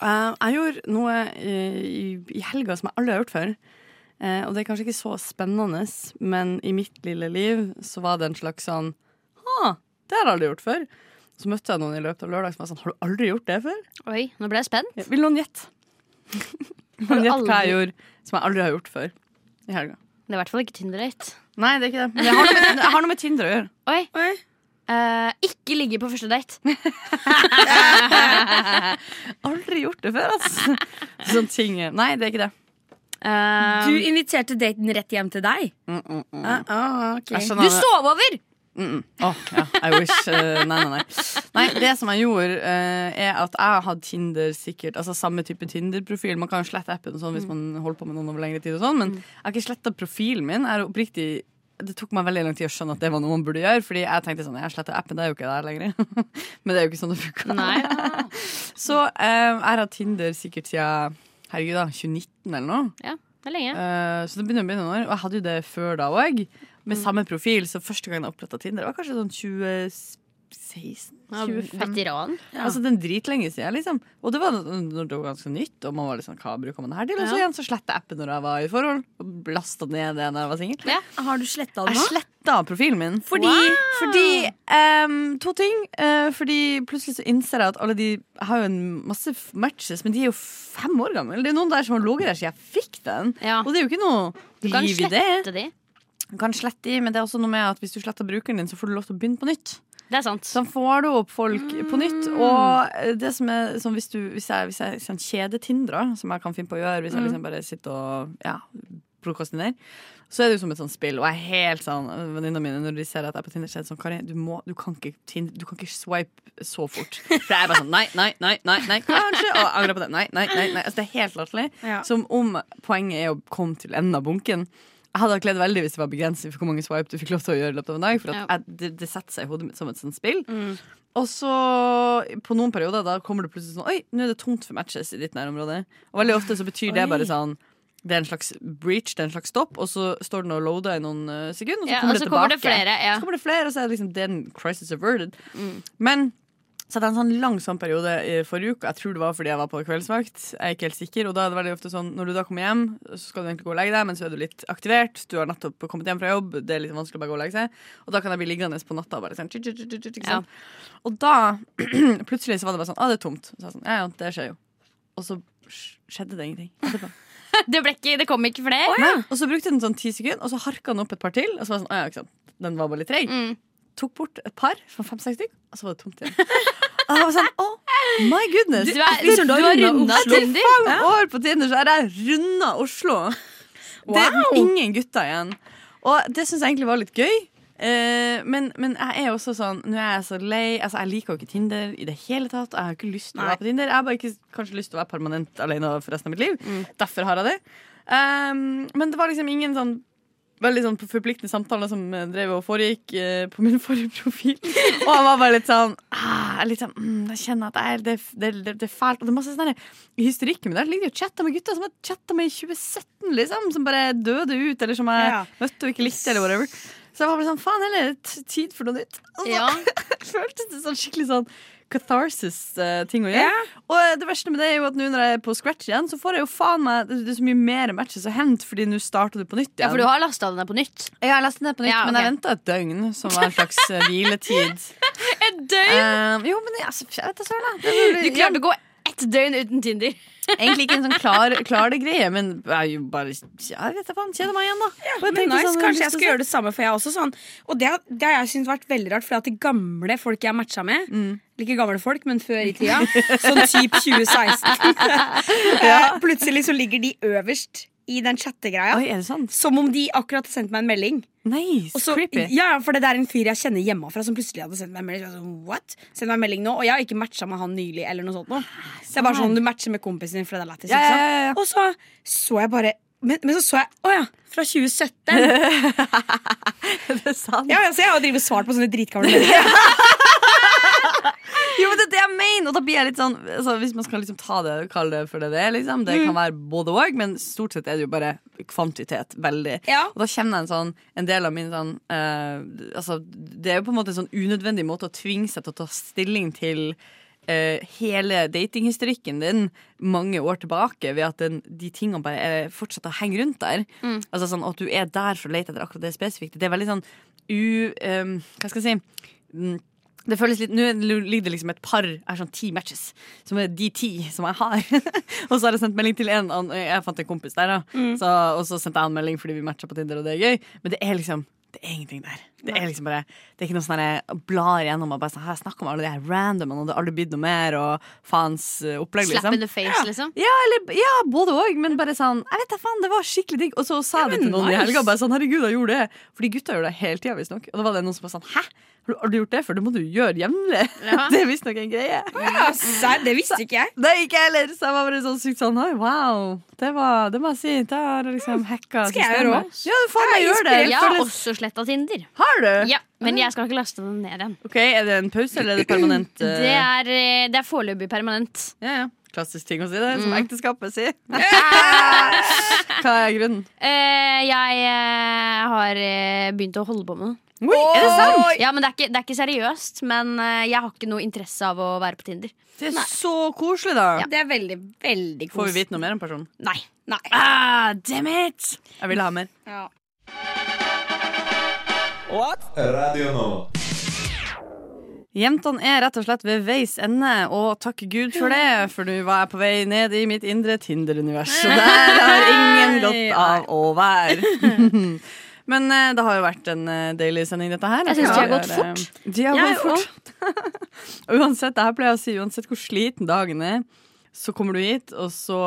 jeg gjorde noe eh, i, i helga som jeg aldri har gjort før. Eh, og det er kanskje ikke så spennende, men i mitt lille liv så var det en slags sånn Ha, det har jeg aldri gjort før. Så møtte jeg noen i løpet av lørdag som var sånn Har du aldri gjort det før? Oi, nå ble jeg spent. Ja, Vil noen gjette? Vil Har noen du gjette hva aldri- jeg gjorde som jeg aldri har gjort før i helga? Det er i hvert fall ikke Tinder-date. Nei, det er ikke det. Men jeg har noe med, jeg har noe med Tinder å gjøre. Oi. Eh, ikke ligge på første date. Aldri gjort det før, altså. Sånne ting. eh, Nei, det er ikke det. Eh, Um, Du inviterte daten rett hjem til deg. Mm, mm, mm. Ah, ok. Jeg skjønner Du det. sov over! Mm -mm. Åh, ja, I wish. Eh, nei, nei, nei. Nei, det som jeg gjorde, eh, er at jeg har hatt Tinder sikkert Altså samme type Tinder-profil. Man kan jo slette appen og sånn hvis man holder på med noen over lengre tid, og sånn men jeg har ikke sletta profilen min. Jeg er oppriktig det tok meg veldig lang tid å skjønne at det var noe man burde gjøre. Fordi jeg tenkte sånn, jeg sletter appen, det er jo ikke der lenger. Men det er jo ikke sånn det funker. Nei. Så eh, jeg har hatt Tinder sikkert siden herregud da, 2019 eller noe. ja, det er lenge. Eh, så det begynner å begynne noen år. Og jeg hadde jo det før da òg, Mm. med samme profil. Så første gang jeg oppretta Tinder, var kanskje sånn 2016? Ja, 25? Veteran. Altså den dritlenge siden, liksom. Og det var når det var ganske nytt, og man var liksom hva bruker man det her til? Og så Ja. igjen så sletta jeg appen når jeg var i forhold, og lasta ned det når jeg var singel. Har du sletta den Jeg nå? sletta profilen min. Fordi, fordi ehm, To ting. Eh, fordi plutselig så innser jeg at alle de Jeg har jo en masse f- matches, men de er jo fem år gamle. Det er noen der som har ligget der siden jeg fikk den. Ja. Og det er jo ikke Du noe kan liv i det. slette de. Du kan slette i, men det er også noe med at hvis du sletter brukeren din, så får du lov til å begynne på nytt. Det er sant. Så får du opp folk på nytt. Og eh, det som er sånn hvis, du, hvis jeg, hvis jeg sånn kjedetindrer, som jeg kan finne på å gjøre hvis jeg liksom bare sitter og ja, prokrastinerer, så er det jo som et sånt spill. Og jeg er helt sånn øh, Venninnene mine når de ser at jeg er på Tinder, så er det sånn Kari, du, må, du, kan ikke, Tin- du kan ikke swipe så fort. For jeg er bare sånn Nei, nei, nei, nei, nei kanskje. Og angrer på det. Nei, nei, nei. nei. Altså, det er helt latterlig. Ja. Som om poenget er å komme til enden av bunken. Jeg hadde kledd veldig hvis det var begrenset for hvor mange swipe du fikk lov til å gjøre i løpet av en dag. For at Ja. jeg, det, det setter seg i hodet mitt som et sånt spill. Og så, på noen perioder, da kommer det plutselig sånn Oi, nå er det tomt for matches i ditt nærområde. Og veldig ofte så betyr det Oi. bare sånn det er en slags breach, det er en slags stopp, og så står den og loader i noen eh, sekunder, og så Ja, kommer og det så tilbake. kommer det flere. Ja. Mm. Så kommer det flere, og så er det liksom den crisis averted. Men Så hadde jeg en sånn langsom periode i forrige uke. Jeg tror det var fordi jeg var på kveldsvakt. Jeg er ikke helt sikker, og da er det veldig ofte sånn Når du da kommer hjem, så skal du egentlig gå og legge deg, men så er du litt aktivert. Du har nettopp kommet hjem fra jobb, det er litt vanskelig å bare gå og legge seg. Og da kan jeg bli liggende på natta og bare sånn tju, tju, tju, tju, tju, ikke sant? Og da plutselig så var det bare sånn ah, det er tomt. Så jeg sånn, ja, ja, det skjer jo. Og så skjedde det ingenting. Etterpå. Det, ble ikke, det kom ikke flere. Nei, Og så brukte den sånn ti sekunder, og så harka den opp et par til. Og så var det sånn, «Å ja, ikke sant, den var bare litt treg. Mm. Tok bort et par, sånn fem-seks stykk, og så var det tomt igjen. Og jeg var sånn, oh my goodness. Du er- du har rundet Tinder. Etter fem år på Tinder så er jeg runda Oslo. Det er ingen gutter igjen. Og det syns jeg egentlig var litt gøy. Eh, men, men jeg er også sånn Nå er jeg så lei. Altså, jeg liker jo ikke Tinder i det hele tatt. Jeg har ikke lyst til å være på Tinder. Jeg har bare ikke kanskje lyst til å være permanent alene for resten av mitt liv. Derfor har jeg det. Um, men det var liksom ingen sånn veldig sånn forpliktende samtaler som eh, drev og foregikk eh, på min forrige profil. Og jeg var bare litt sånn ah, jeg er litt sånn, mm, Jeg kjenner at jeg, er- det, det, det, det er fælt. Og det er masse sånn der- I hysterikken min der ligger det jo chatter med gutter som jeg chatta med i 2017, liksom. Som bare døde ut, eller som jeg Ja. møtte og ikke likte, eller whatever. Så jeg var bare sånn Faen heller, t- tid for noe nytt. Og så Ja. føltes det sånn skikkelig sånn Catharsis-ting å gjøre. Og eh, det verste med det er jo at nå når jeg er på scratch igjen, så får jeg jo faen meg Det er så mye mer matches å hente, fordi nå starter du på nytt igjen. Ja, for du har lasta den ned på nytt. Jeg har lest den ned på nytt, Ja, men jeg ok. venta et døgn, som var en slags eh, hviletid. Et døgn! Eh, jo, men jeg, altså, jeg vet da søren. jeg. Det Du blir- klarte å gå ett døgn uten Tinder. Egentlig ikke en sånn klar, klar det greie, men jeg er jo bare Jeg vet da faen. Kjeder meg igjen, da. Og jeg Men tenkte nice, sånn, Kanskje jeg lyst skal til å gjøre det samme, for jeg er også sånn. Og det, har- det har jeg syntes vært veldig rart, for at de gamle folk jeg matcha med Mm. eller Ikke gamle folk, men før i tida. Sånn type 2016. eh, Plutselig så ligger de øverst i den se. chattegreia. sånn, Oi, er det sant? Som om de akkurat har sendt meg en melding. Nice. Og så- creepy. Ja, for det er en fyr jeg kjenner hjemmefra som plutselig hadde sendt meg en melding. Så jeg var sånn, What? Send meg en melding nå Og jeg har ikke matcha med han nylig. Eller noe sånt nå. Så det er bare sånn du matcher med kompisen din, for det er lættis. Ja, ikke sant? ja, ja, ja. Og så så jeg bare men, men så så jeg Å ja, fra 2017. Er det sant? Ja, ja, så jeg har drevet og svart på sånne dritgamle meldinger. Jo, men det er det jeg mener! Og da blir jeg litt sånn altså, Hvis man skal liksom ta det og kalle det for det det er, liksom. Det kan være både og, men stort sett er det jo bare kvantitet. Veldig. Ja. Og da kjenner jeg en sånn En del av min sånn eh, Altså, det er jo på en måte en sånn unødvendig måte å tvinge seg til å ta stilling til eh, hele datinghistorikken din mange år tilbake, ved at den, de tingene bare eh, fortsetter å henge rundt der. Altså sånn At du er der for å lete etter akkurat det spesifikke. Det er veldig sånn u... eh, hva skal jeg si? Mm, det føles litt, Nå ligger det liksom et par er sånn ti matches, som er de ti som jeg har. og så har jeg sendt melding til en annen- Jeg fant en kompis der, da. Så, og så sendte jeg en melding fordi vi matcha på Tinder, og det er gøy. Men det er liksom det er ingenting der. Det er liksom bare Det er ikke noe sånn her jeg blar igjennom og bare sånn, her snakker om alle de her randomene, og det har aldri blitt noe mer, og faens eh, opplegg, Slap in liksom. the face, liksom. Ja, eller, ja, både òg, men bare sånn Jeg vet da faen, det var skikkelig digg. Og så sa jeg det til noen i helga. Bare sånn, herregud, jeg gjorde det Fordi gutta gjør det hele tida, visstnok. Og da var det noen som var sånn Hæ, har du aldri gjort det før? Det må du gjøre jevnlig. Det er visstnok en greie. Ja, serr, det visste ikke jeg. Det gikk jeg heller, så jeg var bare sånn sykt sånn Oi, wow. Det, var, det må jeg si. Da har jeg liksom hacka Skal jeg gjøre systemet. også? Ja, du faen meg Jeg er gjør det. Jeg har Føles- også sletta Tinder. Har du? Ja, men jeg skal ikke laste den ned igjen. OK, er det en pause, eller er det permanent? eh, Det er, eh, det er foreløpig permanent. Ja, ja. Klassisk ting å si, det. Som ekteskapet sier. Hva er grunnen? Eh, jeg eh, har eh, begynt å holde på med det. Oi, er det sant? Ja, men det er, ikke, det er ikke seriøst, men eh, jeg har ikke noe interesse av å være på Tinder. Det er så koselig, da. Det er veldig, veldig Får kos. vi vite noe mer om personen? Nei. Nei. Ah, damn it! Jeg ville ha mer. Ja. Radio Nova. Jentene er rett og slett ved veis ende, og takk Gud for det, for nå var jeg på vei ned i mitt indre Tinder-univers, og der har ingen godt av å være. Men eh, det har jo vært en eh, deilig sending, dette her. Altså, Jeg Ja. synes de har gått fort. eh, De har Jeg gått fort. Og uansett, det her pleier jeg å si, uansett hvor sliten dagen er, så kommer du hit, og så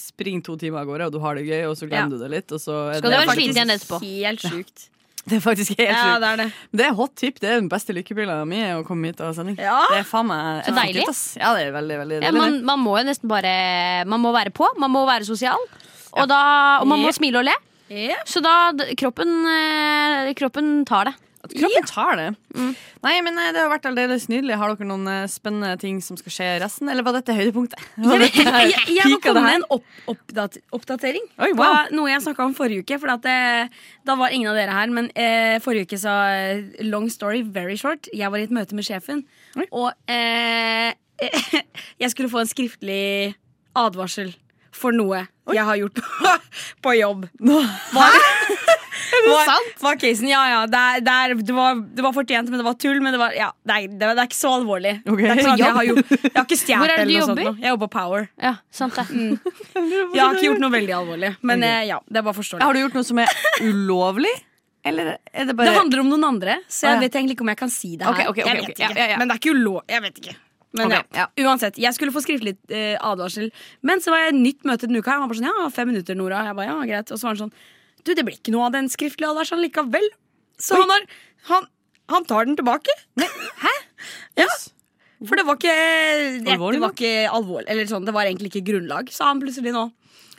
springer to timer av gårde, og du har det gøy, og så Ja. glemmer du det litt, og så er Skal du det være faktisk- sliten igjen etterpå? Helt sjukt. Det er faktisk helt sjukt. Ja, det er det. Det er hot tip. Det er den beste lykkepilla mi å komme hit og ha sending. Ja. Det er faen meg Så deilig. effektivt, ass. Ja, det er veldig, veldig Ja, deilig. man, man må jo nesten bare Man må være på, man må være sosial. Og, da, og man må smile og le. Ja. Så da d- kroppen, eh, kroppen tar det. At Kroppen tar det. Mm. Nei, men eh, Det har vært aldeles nydelig. Har dere noen eh, spennende ting som skal skje i resten, eller var dette høydepunktet? Var Jeg, dette her- jeg, jeg må pika det komme med her? en opp, oppdat, oppdatering. Oi, wow. Hva- Noe jeg snakka om forrige uke. For at, eh, da var ingen av dere her. Men eh, forrige uke sa eh, long story very short. Jeg var i et møte med sjefen, og eh, jeg skulle få en skriftlig advarsel for noe jeg har gjort på jobb. Var, er det sant? Var casen, ja, ja, det, er, det, er, det, var, det var fortjent, men det var tull. Men det, var, ja, det, er, det, er, det er ikke så alvorlig. Ok. Det er ikke sånn at jeg, har gjort, jeg har ikke Hvor stjålet er det eller du noe sånt. jobber? nå. Jeg jobber på Power. Ja, sant det. Jeg har ikke gjort noe veldig alvorlig, men eh, ja, det er bare forståelig. Har du gjort noe som er ulovlig? Eller er det bare Det handler om noen andre, så Å, jeg ja. vet egentlig ikke om jeg kan si det her. Ok, ok, ok, jeg ok. vet ikke, Ja, ja, ja. Men det er ikke ulov... Jeg vet ikke. Men Ok, ja. Uansett, jeg skulle få skriftlig eh, advarsel, men så var jeg i et nytt møte denne uka. her. Han var bare sånn, ja, fem minutter, Nora. Jeg bare, ja, greit. Og så var han sånn, du, det blir ikke noe av den skriftlige advarselen likevel. Så han, har, han, han tar den tilbake. Hæ? Ja. For det var ikke det, Alvorlig det var ikke alvorlig, eller sånn, det var egentlig ikke grunnlag, sa han plutselig nå.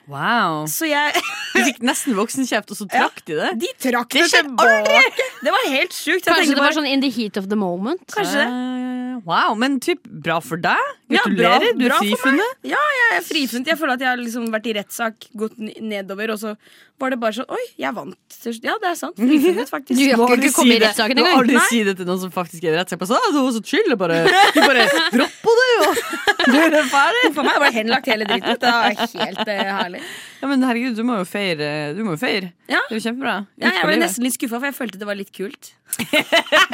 Wow. Så jeg... Du fikk nesten voksenkjeft, og så trakk de det? De trakk det, skjer tilbake! Det var helt sjukt. Jeg Kanskje tenkte det var bare, sånn in the heat of the moment. kanskje det. Eh, Wow, men typ, bra for deg. Ja, bra- Gratulerer, du er bra for meg. frifunnet. Ja, jeg er frifunnet. Jeg føler at jeg har liksom vært i rettssak, gått n- nedover, og så var det bare sånn Oi, jeg vant. til slutt. Ja, det er sant. Frifunnet, faktisk. Du Må har aldri ikke kommet i det- rettssaken må engang. aldri si det til noen som faktisk er i rettssak. Bare sånn, «Ah, Du var så chill, jeg bare, du bare dropp på det, jo. Du er det ferdig. For meg var det henlagt hele dritten. Det var helt eh, herlig. Ja, men herregud, du må jo feire. Du må jo feire. Ja. Det er jo kjempebra. Ut Ja, jeg på ble livet. nesten litt skuffa, for jeg følte det var litt kult.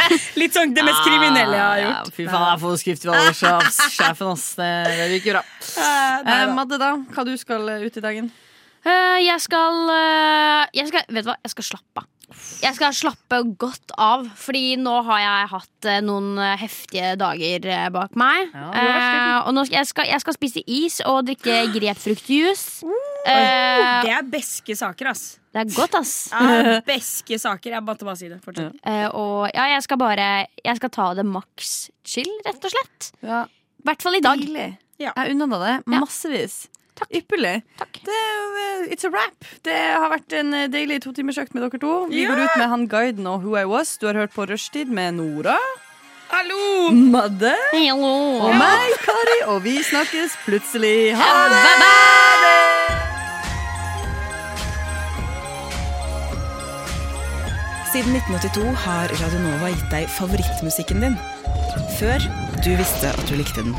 Ah, litt sånn det mest kriminelle jeg har Ja, gjort. fy faen, jeg får skrift ved alderssjefen, ass. Det det gikk jo bra. Eh, nei Eh, da. Madde, da? Hva du skal eh, ut i dagen? Eh, jeg skal, eh, jeg skal Vet du hva, jeg skal slappe av. Jeg skal slappe godt av, Fordi nå har jeg hatt eh, noen eh, heftige dager eh, bak meg. Ja, du har vært Eh, og nå skal, jeg, skal, jeg skal spise is og drikke grepfruktjuice. Åh, Eh, det er beske saker, ass. det er godt, ass. Det er beske saker. Jeg måtte bare si det. Fortsett. Eh, og ja, jeg skal bare Jeg skal ta det maks chill, rett og slett. Ja, I hvert fall i dag. Deilig. Ja. Jeg unna deg det Ja. massevis. Takk. Ypperlig. Takk. Det er jo, eh, it's a wrap. Det har vært en eh, deilig totimersøkt med dere to. Vi Ja! går ut med han guiden og Who I Was. Du har hørt på Rushtid med Nora, Hallo! Madde Hello. og meg, Kari. Og vi snakkes plutselig. Ha det! Bye bye! Siden 1982 har Radio Nova gitt deg favorittmusikken din. Før du visste at du likte den.